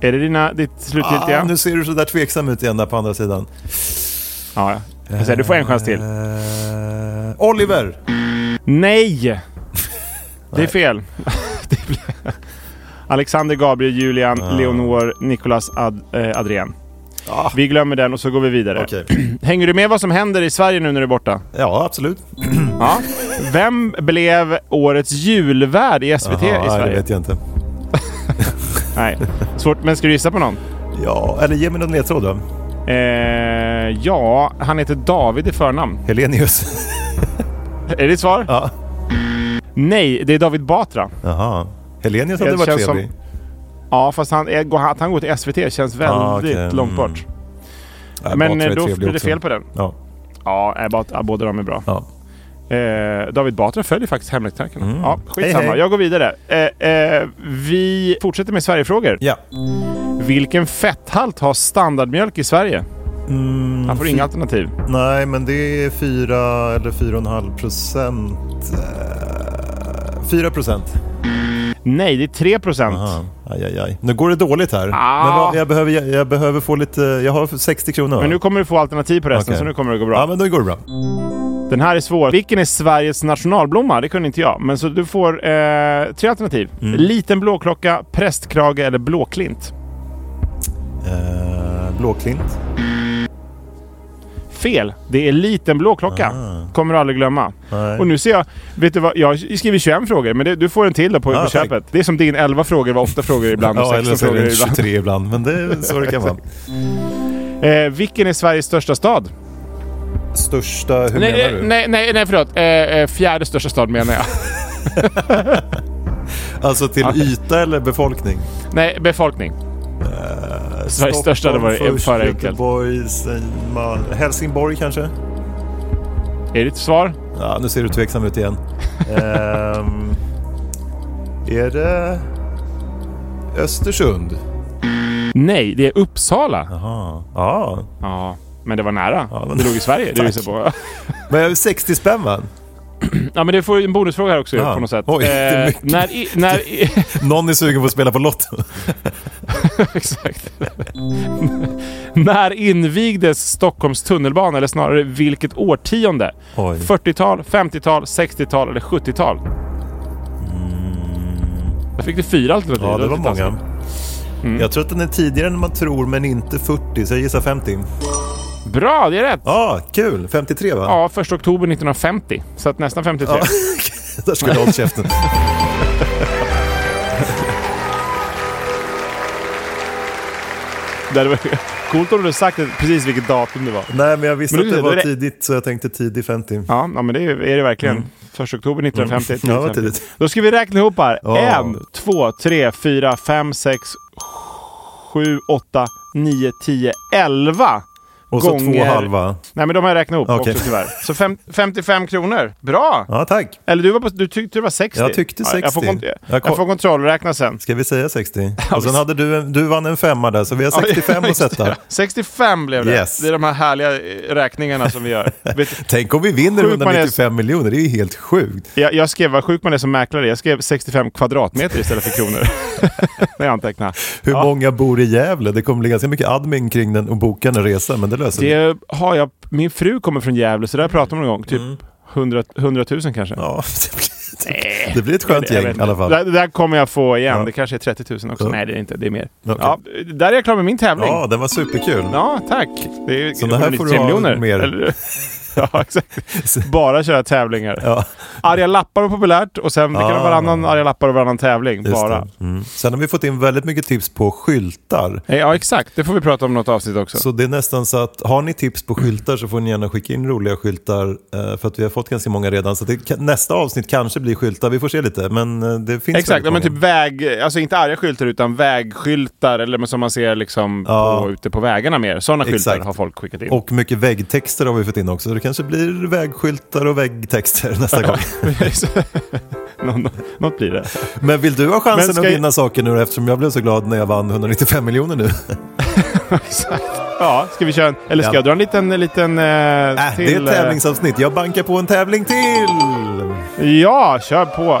A: Är det dina, ditt slutgiltiga?
B: Ah, nu ser du så där tveksam ut igen där på andra sidan.
A: Ja, ja. Jag säger, du får en chans till.
B: Eh, Oliver!
A: Nej! Det är fel. Det blir- Alexander, Gabriel, Julian, Leonor, Nicolas, Ad, eh, Adrien. Vi glömmer den och så går vi vidare.
B: Okej.
A: Hänger du med vad som händer i Sverige nu när du är borta?
B: Ja, absolut.
A: Ja. Vem blev årets julvärd i SVT i
B: Jaha, nej, det
A: Sverige?
B: vet jag inte.
A: Nej. Svårt, men ska du gissa på någon?
B: Ja, eller ge mig någon ledtråd då.
A: Eh, ja, han heter David i förnamn.
B: Helenius.
A: Är det ditt svar?
B: Ja.
A: Nej, det är David Batra.
B: Jaha. Helenius hade
A: Det
B: varit
A: känns som-
B: trevlig.
A: Ja, fast han, eh, går- att han går till SVT känns väldigt
B: Ah, okej,
A: långt
B: mm.
A: bort.
B: Nej,
A: Men
B: Batra är
A: eh, då
B: trevlig
A: blir det
B: också.
A: fel på den.
B: Ja,
A: Ja, eh, Bat- ja, båda de är bra.
B: ja.
A: Eh, David Batra följer faktiskt hemlighetstankarna. Ja, skitsamma.
B: Mm. Hej, hej.
A: Jag går vidare. Eh, eh, vi fortsätter med Sverigefrågor.
B: ja.
A: Vilken fetthalt har standardmjölk i Sverige?
B: Mm,
A: Han får inga alternativ.
B: Nej, men det är 4 eller 4,5 procent. Eh, 4 procent.
A: Nej, det är 3 procent.
B: Aha. Aj, aj, aj. Nu går det dåligt här.
A: Ah.
B: Men vad, jag, behöver, jag, jag behöver få lite... Jag har 60 kronor.
A: Men nu kommer du få alternativ på resten,
B: Okej.
A: så nu kommer det gå bra.
B: Ja, men då går det bra.
A: Den här är svår. Vilken är Sveriges nationalblomma? Det kunde inte jag. Men så du får eh, tre alternativ.
B: Mm.
A: Liten blåklocka, prästkrage eller blåklint.
B: Eh, blåklint.
A: Fel. Det är liten blåklocka. Kommer du aldrig glömma.
B: Ah. Nej.
A: Och nu ser jag... Vet du vad? Jag skriver 21 frågor, men det, du får en till då på,
B: Ah,
A: på
B: tack.
A: köpet. Det är som din 11 frågor var 8 frågor ibland och
B: Ja,
A: 16
B: eller så är
A: frågor
B: det
A: ibland.
B: 23 ibland. Men det är så det kan vara.
A: Eh, vilken är Sveriges största stad?
B: Största... Hur
A: Nej,
B: menar
A: eh,
B: du?
A: nej, nej, nej, förlåt. Eh, eh, fjärde största stad menar jag.
B: Alltså till yta eller befolkning?
A: nej, befolkning. Sveriges största hade varit
B: Stockholm
A: för
B: först,
A: enkelt.
B: Göteborg, sen Mal- Helsingborg kanske?
A: Är ditt svar?
B: Ja, nu ser du tveksam ut igen. Ehm, är det Östersund?
A: Nej, det är Uppsala.
B: Jaha. Ja.
A: Ja, men det var nära.
B: Ja, men-
A: Det låg i Sverige, det
B: Tack.
A: visar på.
B: Men jag är 60 spänn va?
A: Ja, men det får en bonusfråga här också
B: Ja.
A: på något sätt. Eh,
B: Oj, det är mycket.
A: när i, när i,
B: Någon är sugen på att spela på Lotto.
A: exakt. när invigdes Stockholms tunnelbana, eller snarare vilket årtionde?
B: Oj.
A: 40-tal, 50-tal, 60-tal eller 70-tal? Där fick du fyra alternativ. alltså.
B: Ja, det var
A: lite
B: många.
A: taskigt. Mm.
B: Jag tror att den är tidigare än man tror, men inte 40, så jag gissar 50.
A: Bra, det är rätt! Ja.
B: Ja, kul! 53 va?
A: 1 oktober 1950, så att nästan 53.
B: Där skulle jag hållit käften.
A: Det hade varit coolt om du hade sagt precis vilket datum det var.
B: Nej, men jag visste
A: Men du,
B: att det
A: då är
B: var
A: det-
B: tidigt, så jag tänkte tidig 50.
A: Ja, ja men det är, är det verkligen. 1 oktober 1950.
B: Mm. Ja, vad tidigt.
A: Då ska vi räkna ihop här.
B: Ja.
A: En, två, tre, fyra, fem, sex, sju, åtta, nio, tio, elva.
B: Och så
A: gånger...
B: två halva.
A: Nej, men de har jag räknat ihop
B: Okej.
A: också tyvärr. Så fem, 55 kronor. Bra!
B: Ja, tack.
A: Eller du, var på, du tyckte det var 60.
B: Jag tyckte
A: Ja, jag, får
B: 60.
A: kont- jag,
B: Jag kom-
A: får kontrollräkna sen.
B: Ska vi säga 60? Och sen hade du, en, du vann en femma där, så vi har 65 att sätta.
A: 65 blev det.
B: Yes.
A: Det är de här härliga eh, räkningarna som vi gör. Vet,
B: Tänk om vi vinner
A: Sjukt man är-
B: 195 miljoner, det är ju helt sjukt.
A: Jag, jag skrev vad sjuk man är som mäklare. Jag skrev 65 kvadratmeter istället för kronor. När jag antecknade.
B: Hur
A: Ja.
B: många bor i Gävle? Det kommer bli ganska mycket admin kring den och boka en resa, men det löser vi.
A: Det har jag, min fru kommer från Gävle, så där pratade vi någon gång. Typ 100, 100 000 kanske.
B: Mm. Ja, det blir, det blir ett skönt
A: Jag
B: gäng
A: vet
B: i
A: inte.
B: alla fall.
A: Det, det där kommer jag få igen.
B: Ja.
A: Det kanske är 30 000 också.
B: Ja.
A: Nej, det är inte. Det är mer.
B: Okej.
A: Ja, där är jag klar med min tävling.
B: Ja, den var superkul.
A: Ja, tack. Det är ju
B: Så det här får du ha mer.
A: Eller, ja, exakt. Bara köra tävlingar.
B: Ja,
A: Arga lappar var populärt och sen det kan
B: Ah.
A: vara varannan arga lappar och varannan tävling.
B: just
A: Bara.
B: det. Mm. Sen har vi fått in väldigt mycket tips på skyltar.
A: Ja, exakt. Det får vi prata om i något avsnitt också.
B: Så det är nästan så att har ni tips på skyltar så får ni gärna skicka in roliga skyltar eh, för att vi har fått ganska många redan. Så det, kan- nästa avsnitt kanske blir skyltar, vi får se lite. Men eh, det finns
A: Exakt, ja, men typ
B: väldigt många.
A: väg, alltså inte arga skyltar utan vägskyltar eller men som man ser liksom
B: Ja.
A: på, ute på vägarna mer. Sådana skyltar
B: Exakt.
A: har folk skickat in.
B: Och mycket väggtexter har vi fått in också. Så det kanske blir vägskyltar och väggtexter nästa gång.
A: Nå- nå- Något blir det.
B: Men vill du ha
A: Men
B: chansen
A: ska
B: att
A: jag-
B: vinna saker nu eftersom jag blev så glad när jag vann 195 miljoner nu?
A: Exakt. Ja, ska vi köra en, eller ska
B: Ja.
A: jag dra en liten, en liten eh,
B: Äh,
A: till?
B: det
A: eh,
B: är ett tävlingsavsnitt. Jag bankar på en tävling till!
A: Ja, kör på.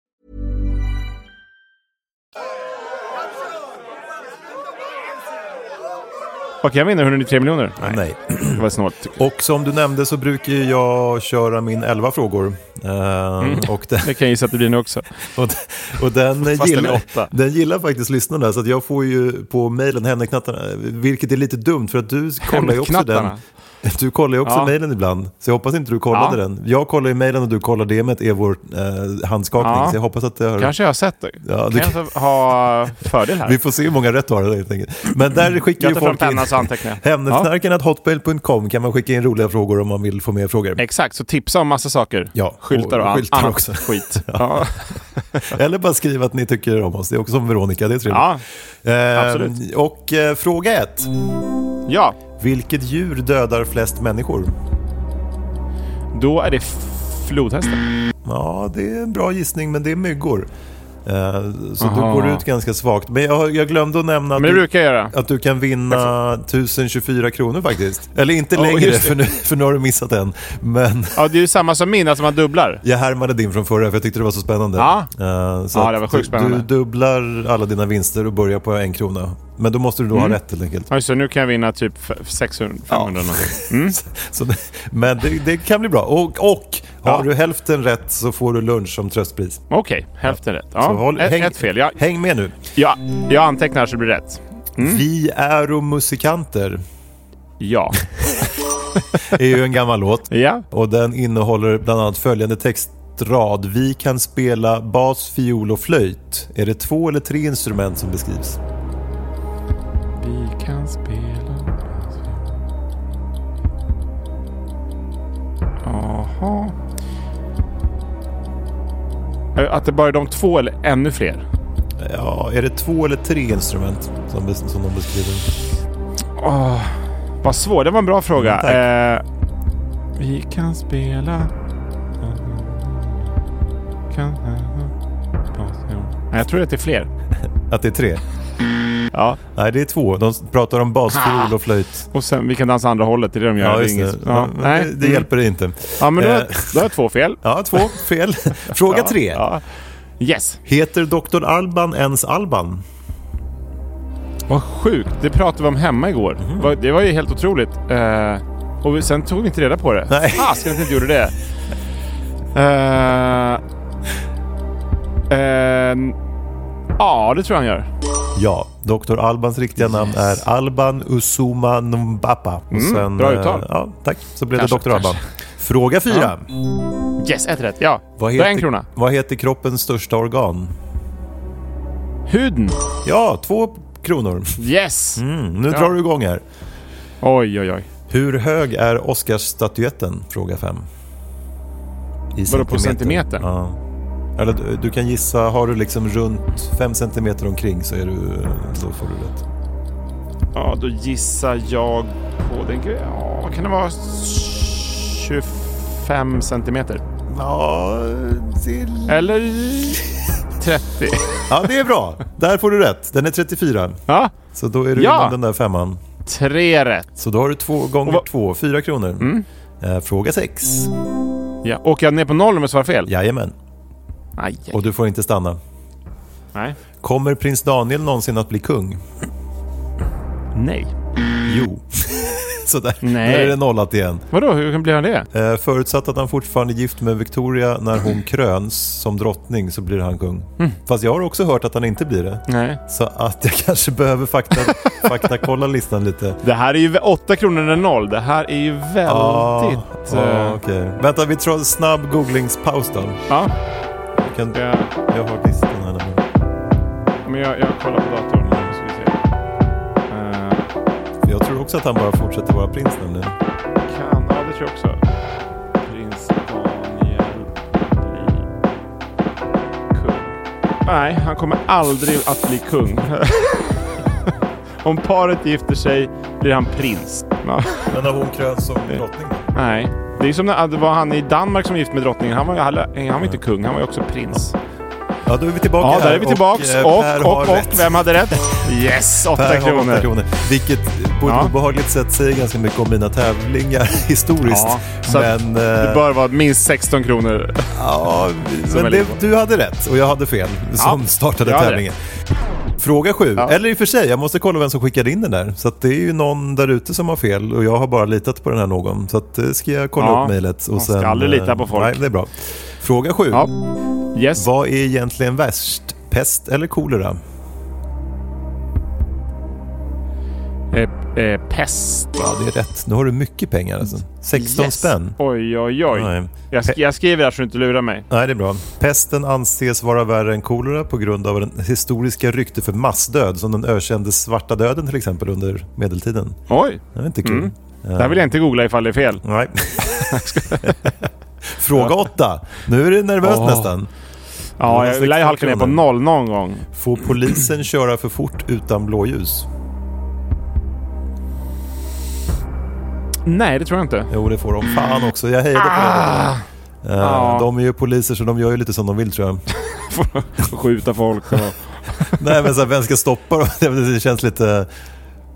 A: Okej, jag vinner 193 miljoner.
B: Nej.
A: Det var snålt. tycker jag.
B: Och som du nämnde så brukar ju jag köra min 11 frågor. Ehm,
A: Mm.
B: och, den,
A: Det kan jag gissa att det blir nu också.
B: och, och
A: Fast den
B: den,
A: är
B: gillar,
A: åtta.
B: den gillar faktiskt lyssnarna. Så att jag får ju på mejlen Hemneknattarna, vilket är lite dumt för att du kollar ju också den.
A: Hemneknattarna.
B: Du kollar ju också
A: Ja.
B: mejlen ibland, så jag hoppas inte du kollade
A: Ja.
B: den. Jag kollar ju mejlen och du kollar DMet, är vår eh, handskakning.
A: Ja.
B: Så jag hoppas att det har...
A: Kanske jag har sett det.
B: Ja,
A: Ja,
B: du-
A: Kan jag ha fördel här?
B: Vi får se hur många rätt du har helt enkelt. Men där
A: Mm.
B: skickar
A: Jag tar
B: ju
A: fram
B: folk in...
A: pennan så antecknar jag.
B: Hemneknarkarna.hotmail.com kan man skicka in roliga frågor om man vill få med frågor.
A: Exakt, så tipsa om massa saker.
B: Ja,
A: skyltar och,
B: och
A: allt
B: skyltar
A: annat
B: också.
A: skit. ja.
B: Eller bara skriva att ni tycker om oss. Det är också som Veronica, det är trevligt.
A: Ja.
B: Ehm,
A: absolut.
B: Och eh, fråga ett.
A: ja,
B: Vilket djur dödar flest människor?
A: då är det flodhästen.
B: Ja, det är en bra gissning, men det är myggor. Ehm, så du går ut ganska svagt. Men jag, jag glömde att nämna att
A: Men det
B: du,
A: brukar jag göra.
B: att du kan vinna 1024 kronor faktiskt. Eller inte
A: Ja,
B: längre,
A: just det.
B: för nu, för nu har du missat den. Men
A: Ja, det är ju samma som min, alltså man dubblar.
B: jag härmade din från förra, för jag tyckte det var så spännande.
A: Ja.
B: Ehm, så
A: Ja,
B: att
A: det var sjukt
B: du-
A: spännande.
B: Du dubblar alla dina vinster och börjar på en krona. Men då måste du då
A: Mm.
B: ha rätt helt enkelt.
A: Ja, just det, nu kan jag vinna typ f- 600, 500 någonting.
B: Så, men det, det kan bli bra. Och, och
A: Ja.
B: har du hälften rätt så får du lunch som tröstpris.
A: Okej, hälften rätt. Ja,
B: så håll-
A: ett, ett fel. Ja,
B: Häng med nu.
A: ja, jag antecknar så det blir rätt.
B: Vi är och musikanter
A: Ja.
B: är ju en gammal låt.
A: ja.
B: Och den innehåller bland annat följande textrad. Vi kan spela bas, fiol och flöjt. Är det två eller tre instrument som beskrivs?
A: Vi kan spela... Jaha. Eh, Att det bara är de två eller ännu fler?
B: Ja, är det två eller tre instrument som, bes- som de beskriver?
A: Vad svår, det var en bra fråga.
B: Mm,
A: eh, vi kan spela... Kan... Nej, jag tror att det är fler.
B: Att det är tre?
A: Ja,
B: Nej, det är två. De pratar om bas, fiol och flöjt.
A: och sen vi kan dansa andra hållet, det är det de gör.
B: Ja,
A: det är
B: just det.
A: inget-
B: Ja,
A: Ah. Ja,
B: men
A: nej. Mm.
B: det, det hjälper inte.
A: Ja, men då,
B: Eh,
A: då har jag två fel.
B: Ja, två fel. Fråga
A: Ja,
B: tre.
A: Ja. Yes.
B: Heter Dr. Alban ens Alban?
A: Vad sjukt, det pratade vi om hemma igår.
B: Mhm.
A: Va- Det var ju helt otroligt. Eh, och vi, sen tog vi inte reda på det.
B: Nej.
A: Fasken att vi inte gjorde det. Eh, eh, ja, det tror jag han gör.
B: Ja, Dr. Albans riktiga namn är Alban Usuma Mbappa. Och sen,
A: Mm, bra
B: eh,
A: uttal.
B: Ja, tack. Så blev
A: Kanske,
B: det Dr. Alban. Fråga fyra.
A: Yes, ett rätt. Ja,
B: Vad,
A: då är en
B: heter,
A: krona.
B: vad heter kroppens största organ?
A: Huden.
B: Ja, två kronor.
A: Yes.
B: Mm, nu drar du igång här.
A: Oj, oj, oj.
B: Hur hög är Oscarsstatyetten? Fråga fem. I
A: Vadå, på centimeter?
B: Ja. Eller du, du kan gissa, har du liksom runt fem centimeter omkring så är du, då får du rätt.
A: Ja, då gissar jag på den. Ja, kan det vara 25 centimeter?
B: Ja, det
A: Eller 30?
B: Ja, det är bra. Där får du rätt. Den är 34.
A: Ja,
B: Så då är du
A: Ja.
B: innan den där femman.
A: tre rätt.
B: Så då har du två gånger
A: Och vad- Mm.
B: två, fyra kronor. Eh, fråga sex.
A: Ja, åker jag ner på noll om jag svarar fel?
B: Jajamän.
A: Aj, aj.
B: Och du får inte stanna.
A: Nej.
B: Kommer prins Daniel någonsin att bli kung?
A: Nej.
B: Jo. Så där,
A: Nej.
B: där är det nollat igen.
A: Vadå, hur blir han det?
B: Eh, förutsatt att han fortfarande är gift med Victoria när hon kröns som drottning så blir han kung.
A: Mm.
B: Fast jag har också hört att han inte blir det.
A: Nej.
B: Så att jag kanske behöver fakta, faktakolla listan lite.
A: Det här är ju 8 kronor eller noll. Det här är ju
B: Ja,
A: väldigt...
B: ja,
A: eh,
B: Ah, okej. Vänta, vi tar en snabb googlingspaus då.
A: ja.
B: Jag, kan,
A: Jag,
B: jag har listan här. nu.
A: men jag, jag kollar på datorn. Nu ska vi se. Eh,
B: För Jag tror också att han bara fortsätter vara prins nämligen.
A: kan... Ja, det tror jag också. Prins Daniel blir kung. Nej, han kommer aldrig att bli kung. Om paret gifter sig blir han prins. Ja.
B: Men har hon krönts som drottning?
A: Nej. Det är som när det var han i Danmark som var gift med drottningen. Han var, ju- han var inte kung, han var ju också prins.
B: Ja, då är vi tillbaka
A: Ja,
B: här.
A: där är vi tillbaks.
B: eh,
A: Och,
B: Per
A: och,
B: har
A: och,
B: rätt.
A: vem hade rätt? Yes,
B: Per
A: åtta
B: har åtta
A: kronor.
B: kronor. Vilket eh, på ett
A: Ja.
B: obehagligt sätt säger ganska mycket om mina tävlingar historiskt.
A: Ja, så att
B: men
A: det
B: eh,
A: bör vara minst 16 kronor.
B: ja,
A: som är
B: men det,
A: lite-
B: du hade rätt och jag hade fel som startade
A: jag hade
B: tävlingen. Fråga sju, eller i och för sig, jag måste kolla vem som skickade in den där. Så att det är ju någon där ute som har fel och jag har bara litat på den här någon. Så att, eh, ska jag kolla
A: Ja,
B: upp mejlet. och
A: man ska
B: sen,
A: aldrig
B: eh,
A: lita på folk.
B: Nej, det är bra. Fråga sju,
A: Ja. Yes.
B: vad är egentligen värst? Pest eller kolera?
A: Eh, eh, pest.
B: Ja, det är rätt. Nu har du mycket pengar alltså. 16
A: Yes.
B: spänn.
A: Oj, oj, oj.
B: Nej.
A: Jag, sk- jag skriver här så du inte lurar mig.
B: Nej, det är bra. Pesten anses vara värre än kolera på grund av den historiska rykte för massdöd som den ökände svarta döden till exempel under medeltiden.
A: Oj,
B: Det är inte kul.
A: det här vill jag inte googla ifall det är fel.
B: Nej. Fråga åtta. Nu är du nervös
A: Åh.
B: nästan.
A: Ja,
B: Det var
A: jag lär ju
B: 16
A: halka ner på
B: kronor.
A: noll någon gång.
B: Får polisen köra för fort utan blåljus?
A: Nej, det tror jag inte.
B: Jo, det får de. Fan också. Jag hejade på ah.
A: Ja.
B: De är ju poliser så de gör ju lite som de vill tror jag.
A: Skjuta folk och...
B: Nej, men så här, vem ska stoppa dem? Det känns lite...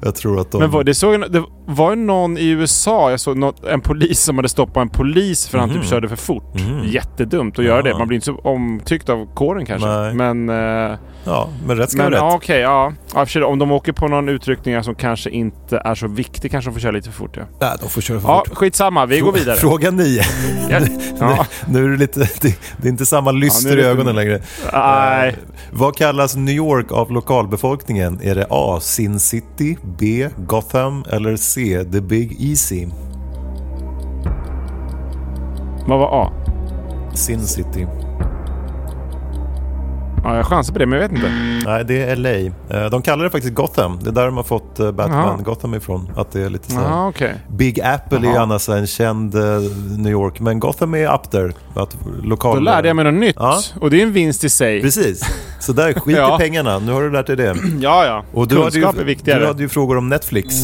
B: Jag tror att de...
A: Men var, det, såg, jag- det var ju någon i USA, jag såg något, en polis som hade stoppat en polis för han
B: Mhm.
A: typ körde för fort. Jättedumt att göra det. Man blir inte så omtyckt av kåren kanske.
B: Nej.
A: Men, eh,
B: Ja, men rätt ska
A: men
B: vara rätt.
A: ja, okej. ja. ja. i och för sig, Om de åker på någon utryckning som kanske inte är så viktig kanske de får köra lite för fort. Ja,
B: Nej, de får köra för
A: ja
B: fort.
A: skitsamma. Vi går vidare.
B: Fråga nio.
A: Ja. Ja.
B: Nu är det lite... Det, det är inte samma lyster
A: Ja, nu är
B: i
A: det-
B: ögonen längre. Eh,
A: Nej.
B: Vad kallas New York av lokalbefolkningen? Är det A. Sin City, B. Gotham eller C. The Big Easy?
A: Vad var A?
B: Sin City.
A: Ja, jag chansar på det, men jag vet inte.
B: Nej, det är LA. Eh, De kallar det faktiskt Gotham. Det är där de har fått eh, Batman
A: Jaha.
B: Gotham ifrån. Att det är lite så här-
A: Ja, okej.
B: Big Apple är ju annars en känd eh, New York, men Gotham är up there. Att lokal...
A: Då lärde jag mig något nytt.
B: Ja.
A: Och det är en vinst i sig.
B: Precis. Så där, skit
A: Ja.
B: i pengarna. Nu har du lärt dig det.
A: Ja, ja.
B: Och du
A: Kunskap
B: hade ju,
A: är viktigare.
B: Du hade ju frågor om Netflix.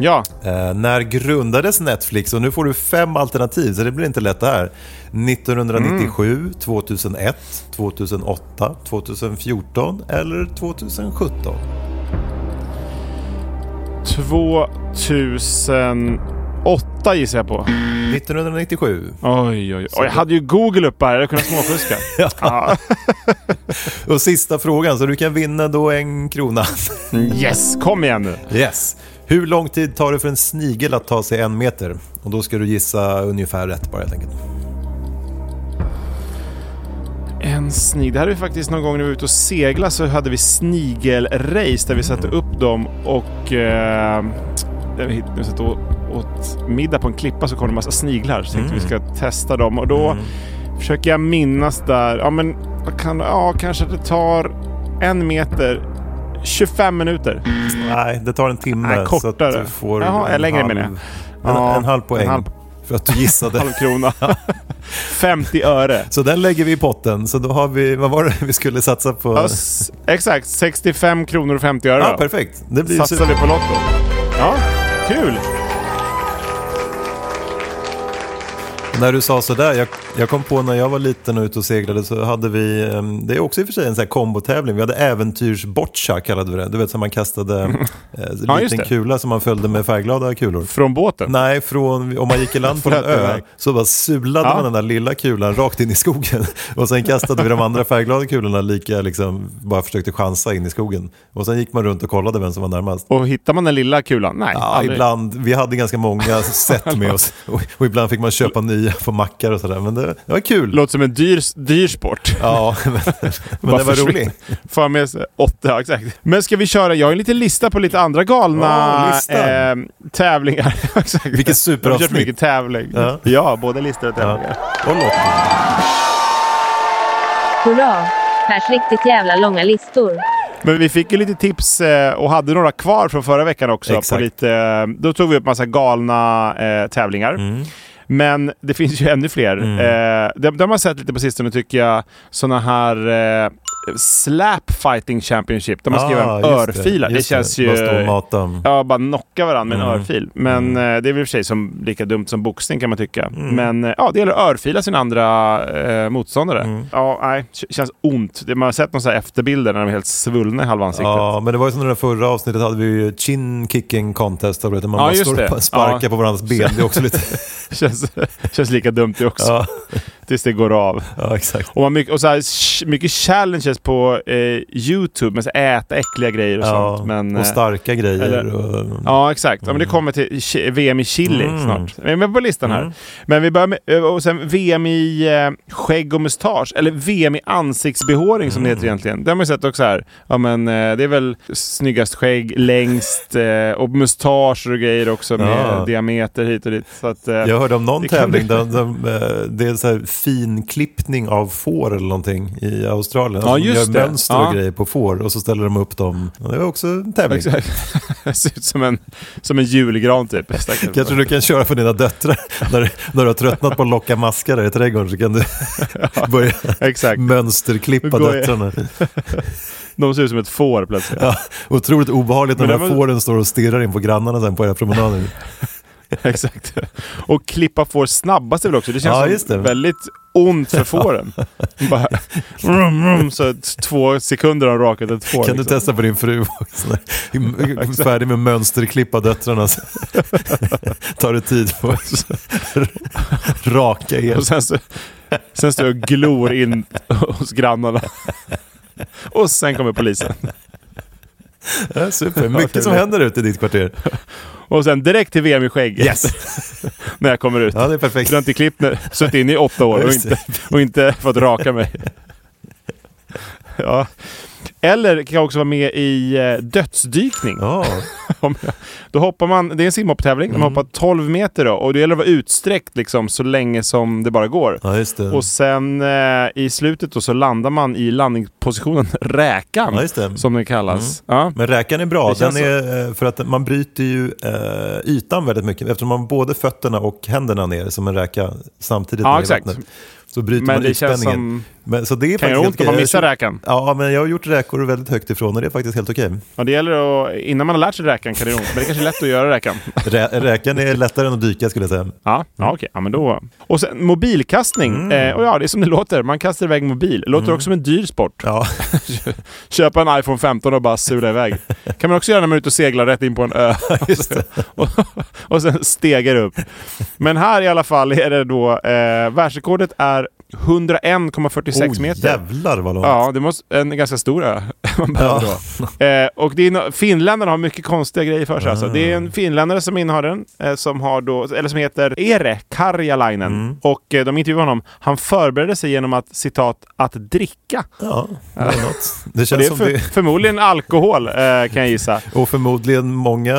A: Ja.
B: Eh, när grundades Netflix? Och nu får du fem alternativ, så det blir inte lätt det här. 1997, 2001, 2008, 2014 eller 2017?
A: 2008 gissar jag på.
B: 1997.
A: Oj, oj, oj. Jag hade ju Google uppe här. Jag hade kunnat småfuska. ja.
B: Och sista frågan, så du kan vinna då en krona.
A: Yes, kom igen nu.
B: Yes. Hur lång tid tar det för en snigel att ta sig en meter? Och då ska du gissa ungefär rätt bara helt enkelt.
A: En snigel. Det här är ju faktiskt någon gång när vi var ute och segla så hade vi snigelrace där vi satte
B: Mm.
A: upp dem och... Eh, där vi, hitt- vi satt och åt middag på en klippa så kom det en massa sniglar så tänkte vi
B: Mm.
A: ska testa dem och då försöker jag minnas där. Ja men vad kan, ja, kanske att det tar en meter 25 minuter.
B: Nej, det tar en timme.
A: Nej, kortare.
B: Så att du får
A: Jaha,
B: en
A: längre
B: halv,
A: menar jag.
B: En,
A: Ja,
B: en halv poäng
A: en halv-
B: för att du gissade.
A: Halvkrona. 50 öre.
B: Så den lägger vi i potten. Så då har vi, vad var det vi skulle satsa på?
A: Ja, s- exakt, 65 kronor och 50 öre.
B: Alltså. Ja,
A: då.
B: perfekt. Det blir
A: Satsar
B: super.
A: vi på Lotto. Ja, kul!
B: När du sa sådär, jag, jag kom på när jag var liten och ute och seglade så hade vi, ehm, det är också i och för sig en sån här kombotävling, vi hade äventyrsboccia kallade vi det. Du vet som man kastade eh,
A: Ja, just
B: liten
A: det.
B: kula som man följde med färgglada kulor.
A: Från båten.
B: Nej, från, om man gick i land på en
A: Flöt
B: ö
A: iväg.
B: så bara sulade
A: Ja.
B: man den där lilla kulan rakt in i skogen. Och sen kastade vi de andra färgglada kulorna lika, liksom, bara försökte chansa in i skogen. Och sen gick man runt och kollade vem som var närmast.
A: Och hittar man den lilla kulan? Nej,
B: Ja,
A: aldrig.
B: ibland, vi hade ganska många set med oss och, och ibland fick man köpa nya på mackar och sådär. Men det, det var kul.
A: Låter som en dyr, dyr sport.
B: Ja, men, men
A: Bara
B: det var
A: försvinner.
B: roligt.
A: Får jag med sig åtta, ja, exakt. Men ska vi köra, jag har en liten lista på lite andra galna
B: Ja, listan.
A: eh, tävlingar. exakt.
B: Vilket
A: De har kört
B: superavsnitt.
A: mycket tävling.
B: Ja.
A: både listor och
B: Ja.
A: tävlingar.
B: Och låt.
C: Hurra! Pers riktigt jävla långa listor.
A: Men vi fick ju lite tips eh, och hade några kvar från förra veckan också. På
B: Exakt.
A: lite, eh, då tog vi upp massa galna eh, tävlingar.
B: Mm.
A: Men det finns ju ännu fler. Eh, det, det har man sett lite på sistone tycker jag. Såna här eh, Slap Fighting Championship där man ska
B: Ah,
A: göra en
B: just det,
A: örfila. Det,
B: just
A: känns
B: det.
A: ju...
B: Man står och matar.
A: Ja, bara knocka varandra med en
B: Mm. Mm.
A: örfil. Men eh, det är väl i och för sig som, lika dumt som boxning kan man tycka. Men eh, ja, det gäller att örfila sin andra eh, motståndare.
B: Mm.
A: Ja, nej, k- känns ont. Det- Man har sett några så här efterbilder när de är helt svullna i halva ansiktet.
B: Ja, men det var ju som i det där förra avsnittet hade vi ju chin kicking contest. Där man
A: Ja,
B: bara
A: just
B: står
A: det.
B: och sparkar
A: Ja.
B: på varandras ben. Det är också lite...
A: känns, känns lika dumt det också.
B: ja,
A: Tills det går av.
B: ja, exakt.
A: Och, man mycket, och så här, sh- mycket challenges på eh, YouTube med så här, äta äckliga grejer och
B: Ja,
A: sånt. Men,
B: och
A: eh,
B: starka grejer.
A: eller- eh,
B: och,
A: Ja, exakt. Ja, men det kommer till Chi- VM i Chile
B: Mm.
A: snart. Vi är med på listan här.
B: Mm.
A: Men vi börjar med ö, och sen VM i eh, skägg och mustasch, eller VM i ansiktsbehåring som
B: Mm.
A: det heter egentligen. Det har man ju sett också här. Ja, men, eh, det är väl snyggast skägg, längst eh, och mustascher och grejer också med
B: Ja.
A: diameter hit och dit. Så att, eh,
B: Jag hörde om någon
A: Det kan
B: tävling
A: bli-
B: där de, eh, det är så här finklippning av får eller någonting i Australien.
A: Ja,
B: Alltså, de
A: just
B: gör
A: det.
B: mönster
A: Ja.
B: och grejer på får och så ställer de upp dem. Ja, Det var också en tävling.
A: Exakt. Det ser ut som en, som en julgran typ. Stackars-
B: Jag tror du kan köra för dina döttrar. när, när du har tröttnat på att locka maskar där i trädgården så kan du börja
A: Exakt.
B: mönsterklippa
A: Då går jag-
B: döttrarna.
A: De ser ut som ett får plötsligt.
B: Ja, otroligt obehagligt när
A: Men
B: de
A: det
B: här
A: var-
B: fåren står och stirrar in på grannarna sen på era promenader.
A: Exakt. Och klippa får snabbast är väl också. Det
B: Ja,
A: känns
B: just
A: som
B: det.
A: väldigt ont för fåren. Bara, vrum, vrum, så att två sekunder har rakat ett får.
B: Kan du
A: liksom.
B: testa på din fru också? Färdig med mönsterklippa döttrarna. så Tar det tid på att raka er.
A: Och sen, så, sen står jag och glor in hos grannarna. Och sen kommer polisen.
B: Ja, Super, mycket som
A: det-
B: händer ute i ditt kvarter.
A: Och sen direkt till VM i skägg. när jag kommer ut.
B: Ja, det är perfekt.
A: För du har inte klippt när, suttit inne i åtta år och
B: Just det.
A: inte, och inte fått raka mig. Ja. Eller kan jag också vara med i eh, dödsdykning.
B: Ja,
A: Om jag- Då hoppar man, det är en simhopptävling,
B: Mm.
A: man hoppar 12 meter då och det gäller att vara utsträckt liksom så länge som det bara går.
B: ja just det.
A: Och sen eh, i slutet då så landar man i landningspositionen räkan,
B: Ja, just det. Mm.
A: som den kallas. Ja.
B: Men räkan är bra,
A: Det känns
B: den är, eh, för att man bryter ju eh, ytan väldigt mycket. Eftersom man har både fötterna och händerna ner som en räka samtidigt
A: Ja,
B: ner i
A: exakt.
B: vattnet. Så bryter
A: Men
B: man
A: det känns
B: ytspänningen.
A: som-
B: Men, så det är
A: Kan
B: faktiskt
A: göra ont
B: helt
A: om
B: okej.
A: man
B: Jag
A: missar
B: kör-
A: räkan.
B: Ja, men jag har gjort räkor väldigt högt ifrån och det är faktiskt helt okej.
A: Ja, det gäller att, innan man har lärt sig räkan kan det göra ont, men det kanske är lätt att göra räkan.
B: Rä, räkan är lättare än att dyka skulle jag säga.
A: Ja, ja
B: Mm.
A: okej. Ja, men då. Och sen mobilkastning. Eh, och ja, det är som det låter. Man kastar iväg mobil. Låter
B: Mm.
A: också som en dyr sport.
B: Ja,
A: Köpa en iPhone 15 och bara sula iväg. kan man också göra när man är ute och seglar rätt in på en ö.
B: just det.
A: och, och sen stegar upp. Men här i alla fall är det då... Eh, världsrekordet är 101,46
B: Oj,
A: meter.
B: jävlar vad långt.
A: Ja, det måste en ganska stor ö man behöver
B: Ja.
A: då. Eh, och det är, no- finländarna har mycket konstiga grejer för sig. Alltså. Det är
B: Ah.
A: en finländare som innehar den, eh, som, har då, eller som heter Ere Karjalainen.
B: Mm.
A: Och eh, de intervjuade honom. Han förberedde sig genom att, citat, att dricka.
B: Ja, det, var något. det
A: Och det
B: känns
A: är
B: som
A: för,
B: det.
A: förmodligen alkohol, eh, kan jag gissa.
B: Och förmodligen många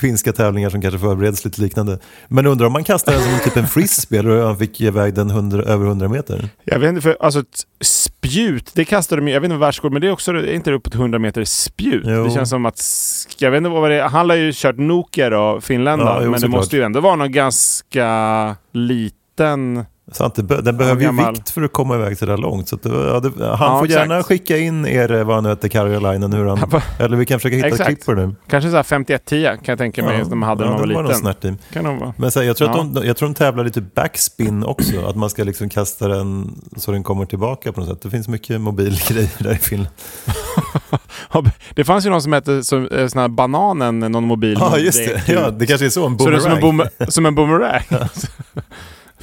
B: finska tävlingar som kanske förbereds lite liknande. Men undrar om man kastar den som typ en frisbee eller hur han fick ge iväg den 100, över 100 meter?
A: Jag vet inte, för alltså ett spjut, det kastar de ju, jag vet inte vad världsrekord, men det är också, är inte det uppåt 100 meter spjut?
B: Jo.
A: Det känns som att, sk- jag vet inte vad det är, han har ju kört Nokia då, finländaren,
B: Ja, jo,
A: men det
B: såklart.
A: måste ju ändå vara någon ganska liten...
B: Så att det, be- den behöver ju
A: gammal.
B: vikt för att komma iväg så där långt. Så att det, ja, det, han
A: Ja,
B: får
A: exakt.
B: gärna skicka in er, eh, vad han nu heter, Karjalainen, hur han... Eller vi kan försöka hitta
A: Exakt.
B: ett klipp på det nu.
A: Kanske så här 51-10 kan jag tänka mig, som man hade när man var
B: det någon
A: liten.
B: snärt i.
A: kan de vara.
B: Men så här, jag, tror att
A: Ja.
B: de, jag tror de tävlar lite backspin också, att man ska liksom kasta den så den kommer tillbaka på något sätt. Det finns mycket mobilgrejer där i Finland.
A: Det fanns ju någon som hette som, eh, sån här bananen, någon mobil.
B: Ja, ah,
A: men
B: just det. Ja, det kanske är så, en
A: Så det är
B: boomerang.
A: som en, boom, som en boomerang.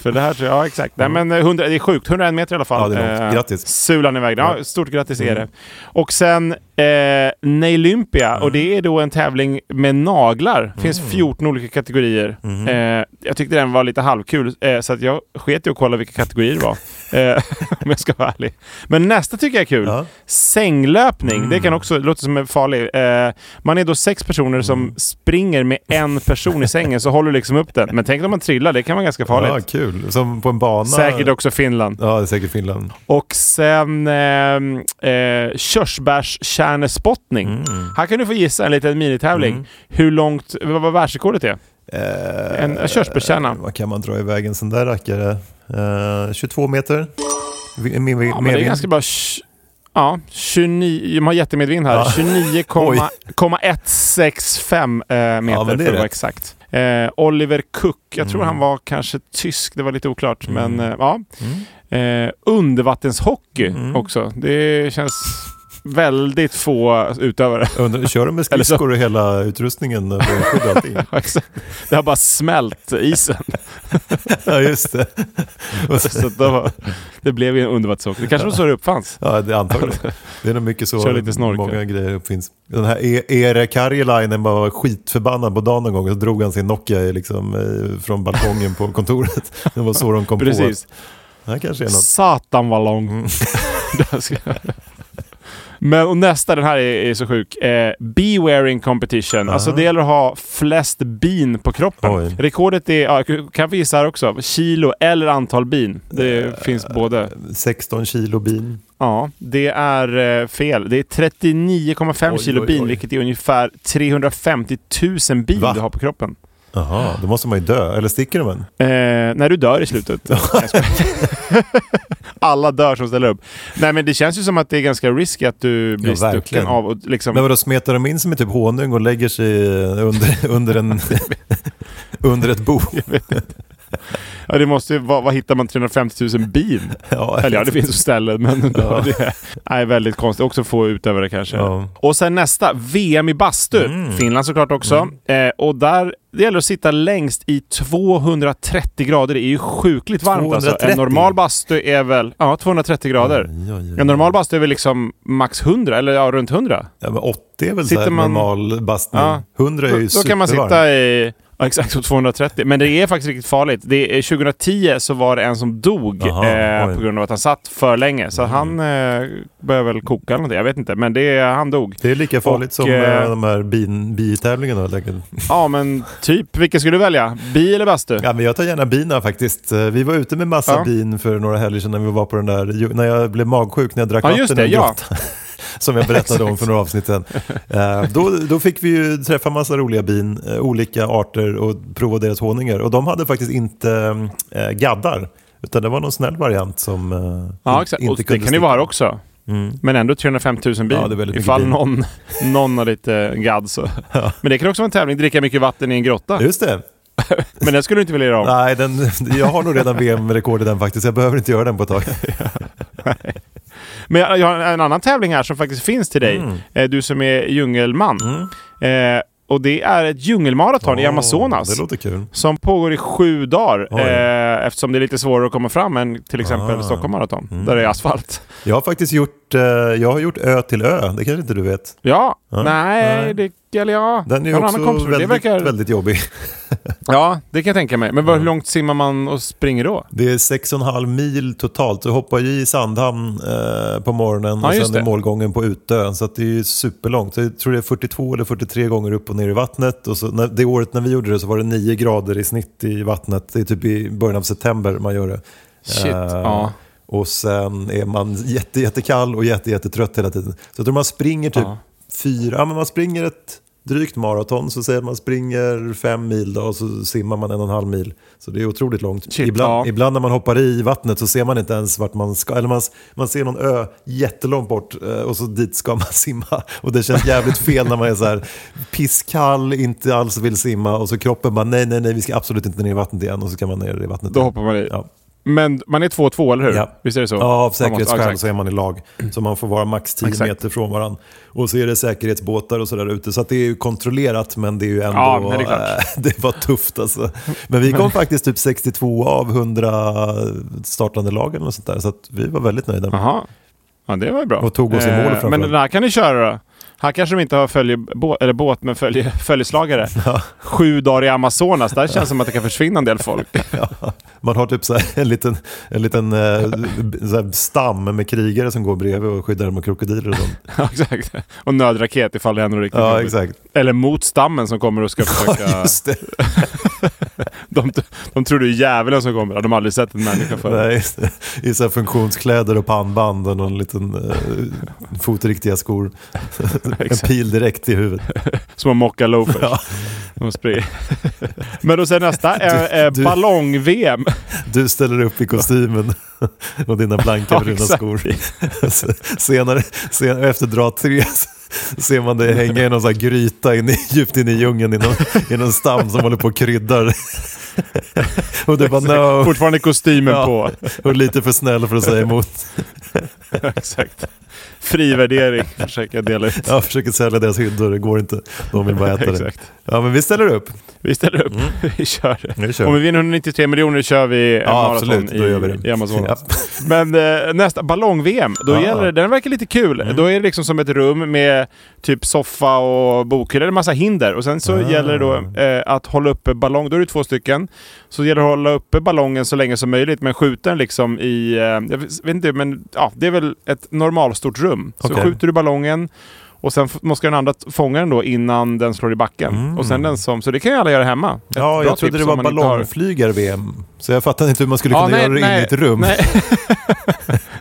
A: För det här, tror jag- ja exakt. Nej, men eh, 100, det är sjukt, 101 meter i alla fall. Eh,
B: Ja, det är långt. Grattis. Mm.
A: Sulan iväg den. Ja, stort grattis är det. Och sen eh, Neilympia, och det
B: Mm.
A: är då en tävling med naglar. Det finns 14 olika kategorier.
B: Mm.
A: Eh, jag tyckte den var lite halvkul, eh, så att jag sket i att kolla vilka kategorier det var. eh, om jag ska vara ärlig. Men nästa tycker jag är kul.
B: Ja.
A: Sänglöpning, det kan också låta som en farlig. Eh, man är då sex personer som springer med en person i sängen, så håller du liksom upp den. Men tänk om man trillar, det kan vara ganska
B: Ja,
A: farligt.
B: kul. Som på en bana.
A: Säkert också Finland.
B: Ja, det är säkert Finland.
A: Och sen ehm, eh, körsbärskärnespottning.
B: Mm.
A: Här kan du få gissa en liten minitävling. Hur långt, vad, vad världsrekordet är?
B: Eh,
A: En en körsbärskärna.
B: vad kan man dra iväg en sån där rackare? Eh, 22 meter? Vi- Med, med,
A: Ja, men
B: med
A: det är
B: vind.
A: ganska bra. Sh- Ja, 29, de har jättemedvind här.
B: Ja.
A: 29,165 eh, meter
B: Ja, men det
A: för att
B: är
A: vara
B: rätt. Mm.
A: exakt. Eh, Oliver Cook, jag tror han var kanske tysk, det var lite oklart. Men eh, ja.
B: Mm.
A: Eh, undervattenshockey också. Det känns väldigt få utövare.
B: Undrar, kör de med
A: Eller så-
B: skridskor och hela utrustningen? och bågskydd och allting?
A: Alltså, det har bara smält isen.
B: ja, just det. Och så-
A: Så att det, var, det blev ju en undervattenshockey. Det kanske var så det uppfanns.
B: Ja, det är antagligen. Det är nog mycket så
A: Kör lite snorkel.
B: många grejer uppfinns. Den här E- Ere Karjelainen bara var skitförbannad på dagen någon gång och så drog han sin Nokia i liksom, eh, från balkongen på kontoret. Det var så de kom
A: Precis.
B: på att det här kanske är något. Mm.
A: Satan vad lång. Där ska jag- Men och nästa, den här är, är så sjuk. Eh, bee wearing competition. Alltså det gäller att ha flest bin på kroppen.
B: Ah. Oj.
A: Rekordet är, ja, kan vi gissa här också, kilo eller antal bin. Det
B: Eh,
A: finns både.
B: 16 kilo bin.
A: Ja, det är eh, fel. Det är 39,5
B: Oj,
A: kilo
B: oj,
A: bin,
B: oj.
A: vilket är ungefär 350 000 bin
B: Va?
A: du har på kroppen.
B: Jaha, då måste man ju dö. Eller sticker de en?
A: Eh, när du dör i slutet. Jag skojar. Alla dör som ställer upp. Nej men det känns ju som att det är ganska risky att du blir stucken
B: verkligen.
A: av och liksom...
B: Men vadå, smetar de in sig med typ honung och lägger sig eh, under, under, en, under ett bo?
A: ja, det måste ju, vad, vad hittar man 350 000 bin?
B: Ja, alltså,
A: Eller ja, det finns ju ställen men det är nej, väldigt konstigt. Också få utövare kanske.
B: Ja. Mm.
A: Och sen nästa, VM i bastu. Finland såklart också. Eh, och där det gäller att sitta längst i 230 grader. Det är ju sjukligt varmt alltså.
B: 230?
A: En normal bastu är väl... Ja, 230 grader.
B: Oj, oj, oj.
A: En normal bastu är väl liksom max 100, eller ja, runt 100.
B: Ja, men 80 är väl
A: Sitter
B: så här
A: man-
B: normal bastning.
A: Ja.
B: 100 är ju
A: Då, då kan man
B: supervarmt.
A: sitta i... Ja, exakt, och 230. Men det är faktiskt riktigt farligt. Det är, 2010 så var det en som dog
B: Jaha,
A: eh,
B: oj. Mm.
A: på grund av att han satt för länge. Så han eh, började väl koka eller någonting. Jag vet inte, men det, han dog.
B: Det är lika farligt
A: Och,
B: som
A: eh,
B: eh, de här bin, bitävlingarna. helt enkelt.
A: Ja, men typ. Vilken skulle du välja? Bi eller bastu?
B: Ja, men jag tar gärna bina faktiskt. Eh, Vi var ute med massa
A: Ja.
B: bin för några helger sedan när vi var på den där, ju- när jag blev magsjuk när jag drack
A: Ja,
B: vatten
A: just
B: i
A: det.
B: en
A: Ja.
B: grotta. Som jag berättade om för några avsnitt sedan. Eh, Då, då fick vi ju träffa massa roliga bin, eh, olika arter och prova deras honungar. Och de hade faktiskt inte eh, gaddar, utan det var någon snäll variant som eh,
A: Ja,
B: in-
A: exakt.
B: inte
A: Och det
B: kunde Mm.
A: kan ju vara här också. Men ändå 350 000 bin.
B: Ja, det är väldigt mycket
A: Ifall
B: bin.
A: någon, någon har lite gadd så. Men det kan också vara en tävling. Dricka mycket vatten i en grotta.
B: sticka. Just det.
A: Men den skulle du inte vilja göra om.
B: Nej, den, jag har nog redan VM-rekord i den faktiskt. Jag behöver inte göra den på ett tag.
A: Men jag, jag har en annan tävling här som faktiskt finns till dig.
B: Mm.
A: Eh, Du som är djungelman. Eh, och det är ett djungelmaraton i
B: Åh,
A: Amazonas.
B: Mm. Det låter kul.
A: Som pågår i sju dagar.
B: Oj. Ah.
A: Eh, eftersom det är lite svårare att komma fram än till exempel Stockholm Marathon.
B: Mm.
A: Där det är asfalt.
B: Jag har faktiskt gjort, eh, jag har gjort Ö till Ö, det kanske inte du vet.
A: Ja, nej,
B: nej.
A: det... Eller ja,
B: Den är ju
A: Jag har en
B: också
A: annan kompis, det
B: väldigt,
A: verkar-
B: väldigt jobbig.
A: Ja, det kan jag tänka mig. Men vad- hur långt simmar man och springer då?
B: Det är 6,5 mil totalt. Du hoppar ju i Sandhamn eh, på morgonen
A: Ja,
B: och
A: just
B: sen är
A: det.
B: målgången på Utö. Så att det är ju superlångt. Så Jag tror det är 42 eller 43 gånger upp och ner i vattnet. Och så, när, det året när vi gjorde det så var det 9 grader i snitt i vattnet. Det är typ i början av september man gör det.
A: Shit,
B: Eh,
A: ja.
B: Och sen är man jätte, jättekall och jätte, jättetrött hela tiden. Så att om man springer typ
A: Ja.
B: fyra, ja, men man springer ett drygt maraton, så säger man springer fem mil då, och så simmar man en och en halv mil. Så det är otroligt långt.
A: Shit,
B: ibland,
A: ja.
B: ibland när man hoppar i vattnet så ser man inte ens vart man ska, eller man, man ser någon ö jättelångt bort eh, och så dit ska man simma. Och det känns jävligt fel när man är så här pisskall, inte alls vill simma och så kroppen bara nej, nej, nej, vi ska absolut inte ner i vattnet igen och så kan man ner i vattnet
A: Då
B: igen.
A: hoppar man i.
B: Ja.
A: Men man är 2-2, eller hur?
B: Ja.
A: Visst är det så?
B: Ja, av
A: Man måste- ja,
B: säkerhetsskäl
A: exakt.
B: så är man i lag. Så man får vara max 10
A: Exakt.
B: meter från varandra. Och så är det säkerhetsbåtar och sådär ute. Så att det är ju kontrollerat men det är ju ändå...
A: Ja, men det är klart.
B: eh, det var tufft alltså. Men vi kom faktiskt typ 62 av 100 startande lag eller något sånt där. Så att vi var väldigt nöjda.
A: Jaha. Ja, det var ju bra. Eh,
B: Och tog oss i mål framför
A: Men
B: allt.
A: den här kan ni köra då? Här kanske de inte har följe, bå, eller båt, men följe, följeslagare. Sju dagar i Amazonas. Där känns det som att det kan försvinna en del folk.
B: Man har typ så här en liten, en liten eh, b- så här stam med krigare som går bredvid och skyddar dem mot krokodiler och sånt.
A: Ja, exakt. Och nödraket ifall det händer något riktigt
B: Ja,
A: jobbigt.
B: exakt.
A: Eller mot stammen som kommer och ska
B: Ja,
A: försöka...
B: just det.
A: de, de tror det är djävulen som kommer. Ja, De har aldrig sett en människa förut.
B: Nej, just det. I så här funktionskläder och pannband och någon liten eh, fotriktiga skor. en
A: Exakt.
B: pil direkt i huvudet.
A: Små mocka loafers. De springer. Men och sen nästa är eh,
B: Du- du-
A: ballong-VM.
B: Du ställer upp i kostymen och dina blanka
A: Ja,
B: bruna
A: exakt.
B: skor. Senare, senare, efter drag tre ser man dig hänga i någon sån här gryta in i, djupt inne i djungeln i någon, i någon stam som håller på och kryddar. Och du bara no,
A: Fortfarande kostymen
B: Ja.
A: på.
B: och lite för snäll för att säga emot.
A: Exakt. Fri värdering försöker jag dela ut.
B: Jag försöker sälja deras hyddor, det går inte. De vill bara äta det.
A: Exakt.
B: Ja men vi ställer upp.
A: Vi ställer upp. Vi kör.
B: Mm. Nu kör
A: Om vi
B: vi.
A: vinner 193 miljoner kör vi en
B: Ja
A: maraton
B: absolut,
A: i,
B: då gör vi det.
A: i Amazonas.
B: Ja.
A: Men eh, nästa, ballong-VM. Då
B: Ah.
A: gäller det, den verkar lite kul.
B: Mm.
A: Då är det liksom som ett rum med typ soffa och bokhylla. Det är en massa hinder. Och sen så
B: Ah.
A: gäller det då eh, att hålla uppe ballong. Då är det två stycken. Så gäller det att hålla uppe ballongen så länge som möjligt. Men skjuter den liksom i... Eh, jag vet inte, men ja, det är väl ett normalstort rum. Så
B: Okej.
A: skjuter du ballongen. Och sen f- måste den andra t- fånga den då innan den slår i backen.
B: Mm.
A: Och sen den som, så det kan ju alla göra hemma. Ett
B: Ja,
A: bra
B: jag trodde
A: tips
B: det
A: om
B: var
A: man inte har-
B: ballongflygar-VM. Så Liksom, jag fattar inte hur man skulle
A: Ja,
B: kunna
A: nej,
B: göra det
A: nej,
B: inne i ett rum.
A: Nej.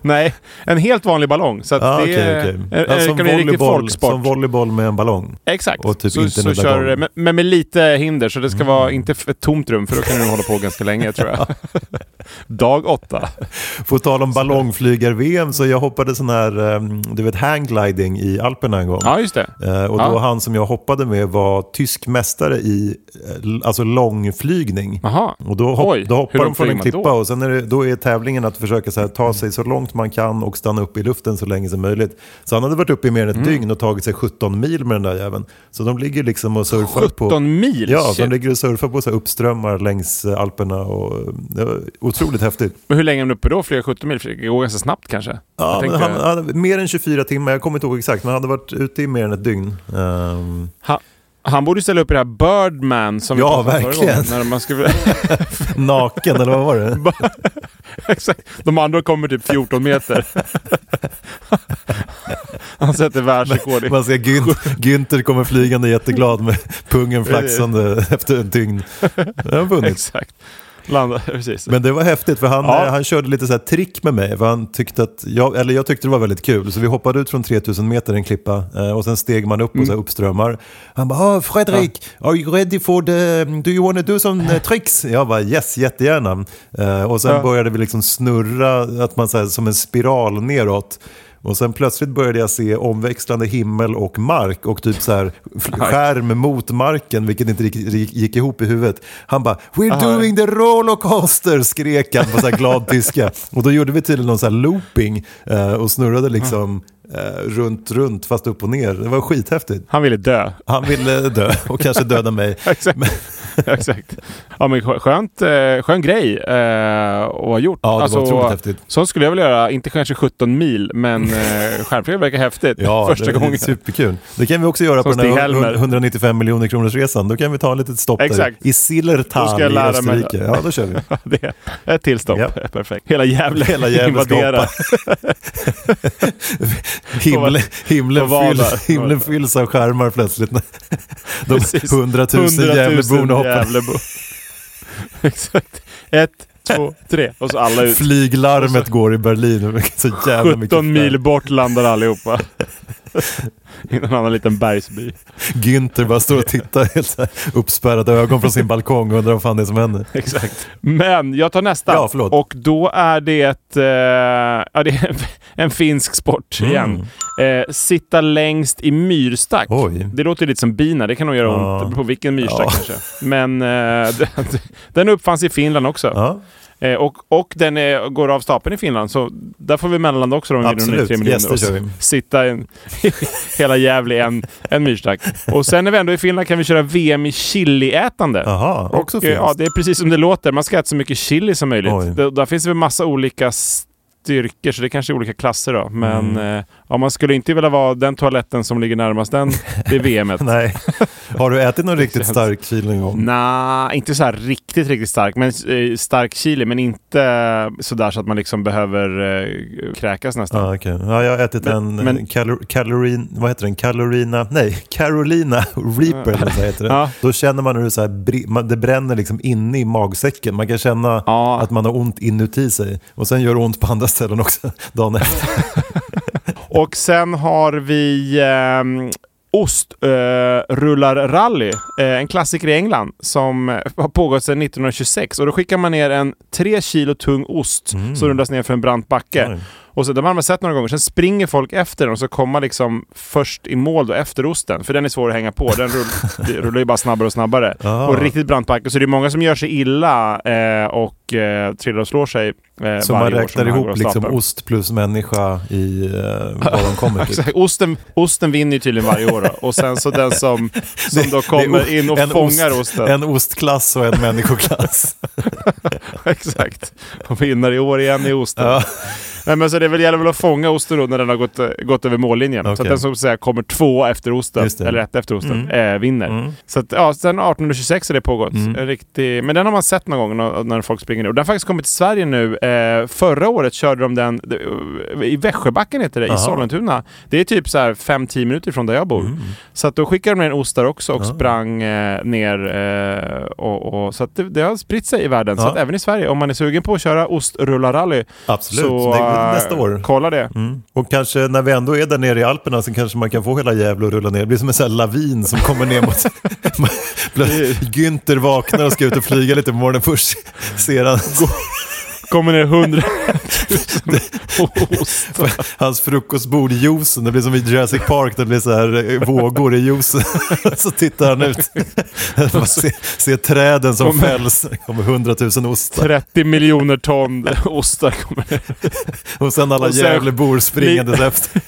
A: nej, en helt vanlig ballong. Så att
B: Ah,
A: det,
B: okej,
A: är,
B: okej.
A: eh,
B: Ja,
A: det
B: som
A: kan bli en riktig
B: volleyboll-
A: folksport.
B: Som volleyboll med en ballong.
A: Exakt.
B: och typ
A: så,
B: inte
A: så
B: nudda
A: kör
B: golv.
A: du det, men- men med lite hinder. Så det
B: Mm.
A: ska vara inte f- ett tomt rum, för då kan du hålla på ganska länge tror jag. Dag åtta.
B: På tal om ballongflygar-VM så jag hoppade sån här, eh, du vet hanggliding i Alperna en gång.
A: Ja, just det.
B: Eh, Och då
A: Ja.
B: han som jag hoppade med var tysk mästare i eh, l- alltså långflygning.
A: Jaha.
B: Och då, hopp,
A: Oj,
B: då hoppar
A: hur
B: de från
A: långt
B: en
A: flyger man
B: klippa
A: då?
B: och sen är, det, då är tävlingen att försöka så här, ta sig så långt man kan och stanna upp i luften så länge som möjligt. Så han hade varit uppe i mer än ett
A: Mm.
B: dygn och tagit sig 17 mil med den där jäveln. Så de ligger liksom och surfar på...
A: 17 mil?
B: Ja, så
A: Shit.
B: de ligger och surfar på så här uppströmmar längs eh, Alperna och eh, det var otroligt häftigt.
A: Men hur länge är man uppe då? Flera 17 mil? Fredrik? Det går ganska snabbt kanske?
B: Ja,
A: Jag
B: men
A: tänkte-
B: han, han, mer än 24 timmar, jag kommer inte ihåg exakt, men han hade varit ute i mer än ett dygn. Ehm,
A: han, han borde ställa upp i det här Birdman som
B: Ja,
A: pratade om förra
B: verkligen.
A: gången, När man skulle...
B: naken, eller vad var det?
A: Exakt. De andra kommer typ 14 meter. Han sätter världsrekord. i-
B: Man ser Gün, Günther kommer flygande jätteglad med pungen flaxande efter en dygn. Han har vunnit.
A: Exakt. Landa, precis.
B: Men det var häftigt för han,
A: Ja.
B: eh, han körde lite så här trick med mig. För han tyckte att jag, eller jag tyckte det var väldigt kul. Så vi hoppade ut från 3000 meter en klippa eh, och sen steg man upp
A: Mm.
B: och så här uppströmmar. Han bara ah, “Fredrik, are you ready for the... Do you wanna do some eh, tricks?” Jag bara “Yes, jättegärna”. Eh, och sen
A: Ja.
B: började vi liksom snurra att man, så här, som en spiral neråt. Och sen plötsligt började jag se omväxlande himmel och mark och typ så här fl- skärm mot marken, vilket inte riktigt gick- gick ihop i huvudet. Han bara “We're doing the rollercoaster” skrek han på så här glad tyska. Och då gjorde vi tydligen någon så här looping eh, och snurrade liksom
A: Mm.
B: eh, runt, runt, fast upp och ner. Det var skithäftigt.
A: Han ville dö.
B: Han ville dö och kanske döda mig.
A: Exakt. Exakt. Ja, men skö- skönt, eh, skön grej eh, att ha gjort.
B: Ja, det var otroligt häftigt.
A: Sånt skulle jag vilja göra. Inte kanske 17 mil, men eh, skärmflyg verkar häftigt.
B: Ja,
A: Första
B: det är
A: gången.
B: Superkul. Det kan vi också göra
A: Som
B: på den
A: Stig
B: här
A: Helmer.
B: 195 miljoner kronors resan. Då kan vi ta ett litet stopp
A: Exakt.
B: där. I Sillertal
A: Då ska jag
B: i
A: lära mig det.
B: Österrike. Ja, då kör vi.
A: Det är ett till stopp.
B: Japp.
A: Perfekt. Hela Gävle
B: Hela Gävle ska
A: invadera.
B: Himlen, himlen,
A: På vad
B: fylls,
A: där?
B: himlen fylls av skärmar plötsligt. De
A: Precis.
B: hundratusen
A: 100 000
B: Gävleborna hoppar.
A: Gävlebo. Exakt. Ett, två, tre. Och så alla ut.
B: Flyglarmet går i Berlin. Så jävla mycket
A: 17 mil
B: flärd.
A: bort landar allihopa. I någon annan liten bergsby.
B: Günther bara står och tittar helt så här uppspärrade ögon från sin balkong och undrar vad fan det är som händer.
A: Exakt. Men jag tar nästa.
B: Ja, förlåt.
A: Och då är det, eh, ja, det är en finsk sport
B: Mm.
A: igen. Eh, sitta längst i myrstack.
B: Oj.
A: Det låter lite som bina, det kan nog göra
B: Ja.
A: ont. Det beror på vilken myrstack
B: Ja.
A: kanske. Men eh, den, den uppfanns i Finland också.
B: Ja,
A: Eh, och, och den är, går av stapeln i Finland, så där får vi mellanland också då, om vi vinner
B: Absolut.
A: 93 miljoner.
B: Yes, det
A: Och
B: kör vi.
A: s- Sitta i en, hela Gävle i en, en myrstack. Och sen när vi ändå är i Finland kan vi köra VM i chiliätande.
B: Jaha,
A: Och,
B: också
A: eh,
B: finskt.
A: Ja, det är precis som det låter. Man ska äta så mycket chili som
B: Oj.
A: möjligt. Det, där finns det väl massa olika styrkor, så det kanske är olika klasser då. Men
B: Mm.
A: eh, ja, man skulle inte vilja vara den toaletten som ligger närmast den vid VMet.
B: Nej. Har du ätit någon riktigt stark chili någon gång?
A: Nej, inte så här riktigt, riktigt stark. Men eh, stark chili, men inte sådär så att man liksom behöver eh, kräkas nästan.
B: Ja, okej. ja, jag har ätit
A: Men-
B: en
A: men-
B: men, kalorin, vad heter den? Kalorina, nej, Carolina Reaper eller så heter det.
A: Ja.
B: Då känner man hur det, så här, bri- man, det bränner liksom inne i magsäcken. Man kan känna
A: Ja.
B: att man har ont inuti sig och sen gör det ont på andra ställen också dagen efter.
A: Och sen har vi ehm, ostrullarrally, eh, en klassiker i England som eh, har pågått sedan 1926. Och då skickar man ner en 3 kilo tung ost som rullas ner för en brant backe.
B: Oj.
A: Och så, de har man sett några gånger, sen springer folk efter den och så kommer man liksom först i mål då efter osten. För den är svår att hänga på, den rull, det rullar ju bara snabbare och snabbare.
B: Ah.
A: Och riktigt brant backe, så det är många som gör sig illa eh, och eh, trillar och slår sig eh,
B: Så
A: varje
B: man
A: år som
B: räknar
A: den här går
B: ihop
A: av
B: liksom
A: stapeln.
B: ost plus människa i eh, var de kommer till.
A: Exakt. Osten, osten vinner ju tydligen varje år då. och sen så den som, som då kommer in och
B: En
A: fångar
B: ost-
A: osten.
B: En ostklass och en människoklass.
A: Exakt. Och vinner i år igen i osten.
B: Ja.
A: Nej, men så det väl gäller väl att fånga osten då när den har gått, eh, gått över mållinjen. Så
B: Okej.
A: att den som så att säga, kommer två efter osten,
B: Just det. Mm.
A: eller ett efter osten, eh, vinner. Så att, ja, sen 1826 har det pågått. En Riktig, men den har man sett någon gång när, när folk springer ner. Och den har faktiskt kommit till Sverige nu. Eh, förra året körde de den det- i Växjöbacken heter det, i
B: Aha.
A: Sollentuna. Det är typ så här 5-10 minuter från där jag bor.
B: Mm.
A: Så att då skickade de ner en ost där också och sprang eh, ner. Eh, och, och, så att det, det har spritt sig i världen. Så
B: Ja.
A: att även i Sverige, om man är sugen på att köra ostrullarrally
B: Absolut,
A: så
B: det är
A: eh,
B: nästa år. Mm.
A: kolla det.
B: Och kanske när vi ändå är där nere i Alperna så kanske man kan få hela Gävle att rulla ner. Det blir som en sån här lavin som kommer ner mot... Plötsligt- Günther vaknar och ska ut och flyga lite på morgonen. Först ser han
A: Kommer ner 100 000 ost.
B: hans frukostbord i juicen. Det blir som i Jurassic Park, det blir så här eh, vågor i juicen. Så tittar han ut. Man ser, ser träden som
A: Kommer-
B: fälls. Det kommer hundratusen ostar.
A: 30 miljoner ton ostar kommer ner.
B: Och sen alla
A: Och sen-
B: Gävlebor springandes efter.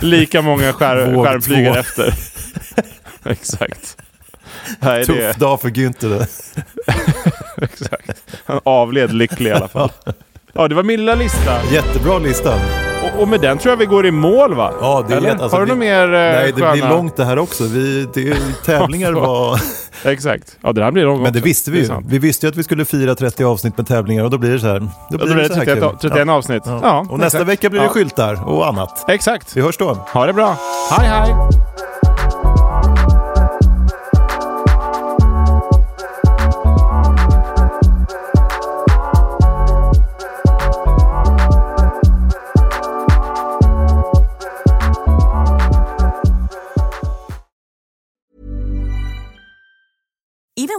A: Lika många skär,
B: Våg
A: skärmflygare
B: två.
A: efter. Exakt. Här är det.
B: Tuff dag för Günther. det.
A: Exakt. Han avled lycklig i alla fall. Ja, det var min lilla lista.
B: Jättebra lista.
A: Och, och med den tror jag vi går i mål va?
B: Ja, det är
A: Eller?
B: jätte- alltså,
A: Har du
B: vi-
A: något mer eh,
B: Nej, det blir
A: sköna-
B: långt det här också. Vi, det, är- tävlingar var...
A: Exakt. Ja, det här blir långt
B: Men det
A: också.
B: visste vi
A: är
B: ju.
A: sant.
B: Vi visste ju att vi skulle fira 30 avsnitt med tävlingar och då blir det så här. Då
A: Ja, Då blir det
B: så här
A: 31,
B: kul.
A: 31
B: Ja.
A: avsnitt. Ja.
B: Ja. och nästa
A: exakt.
B: vecka blir det
A: Ja.
B: skyltar och annat.
A: Exakt.
B: Vi hörs då.
A: Ha det bra. Hej, hej.
D: Even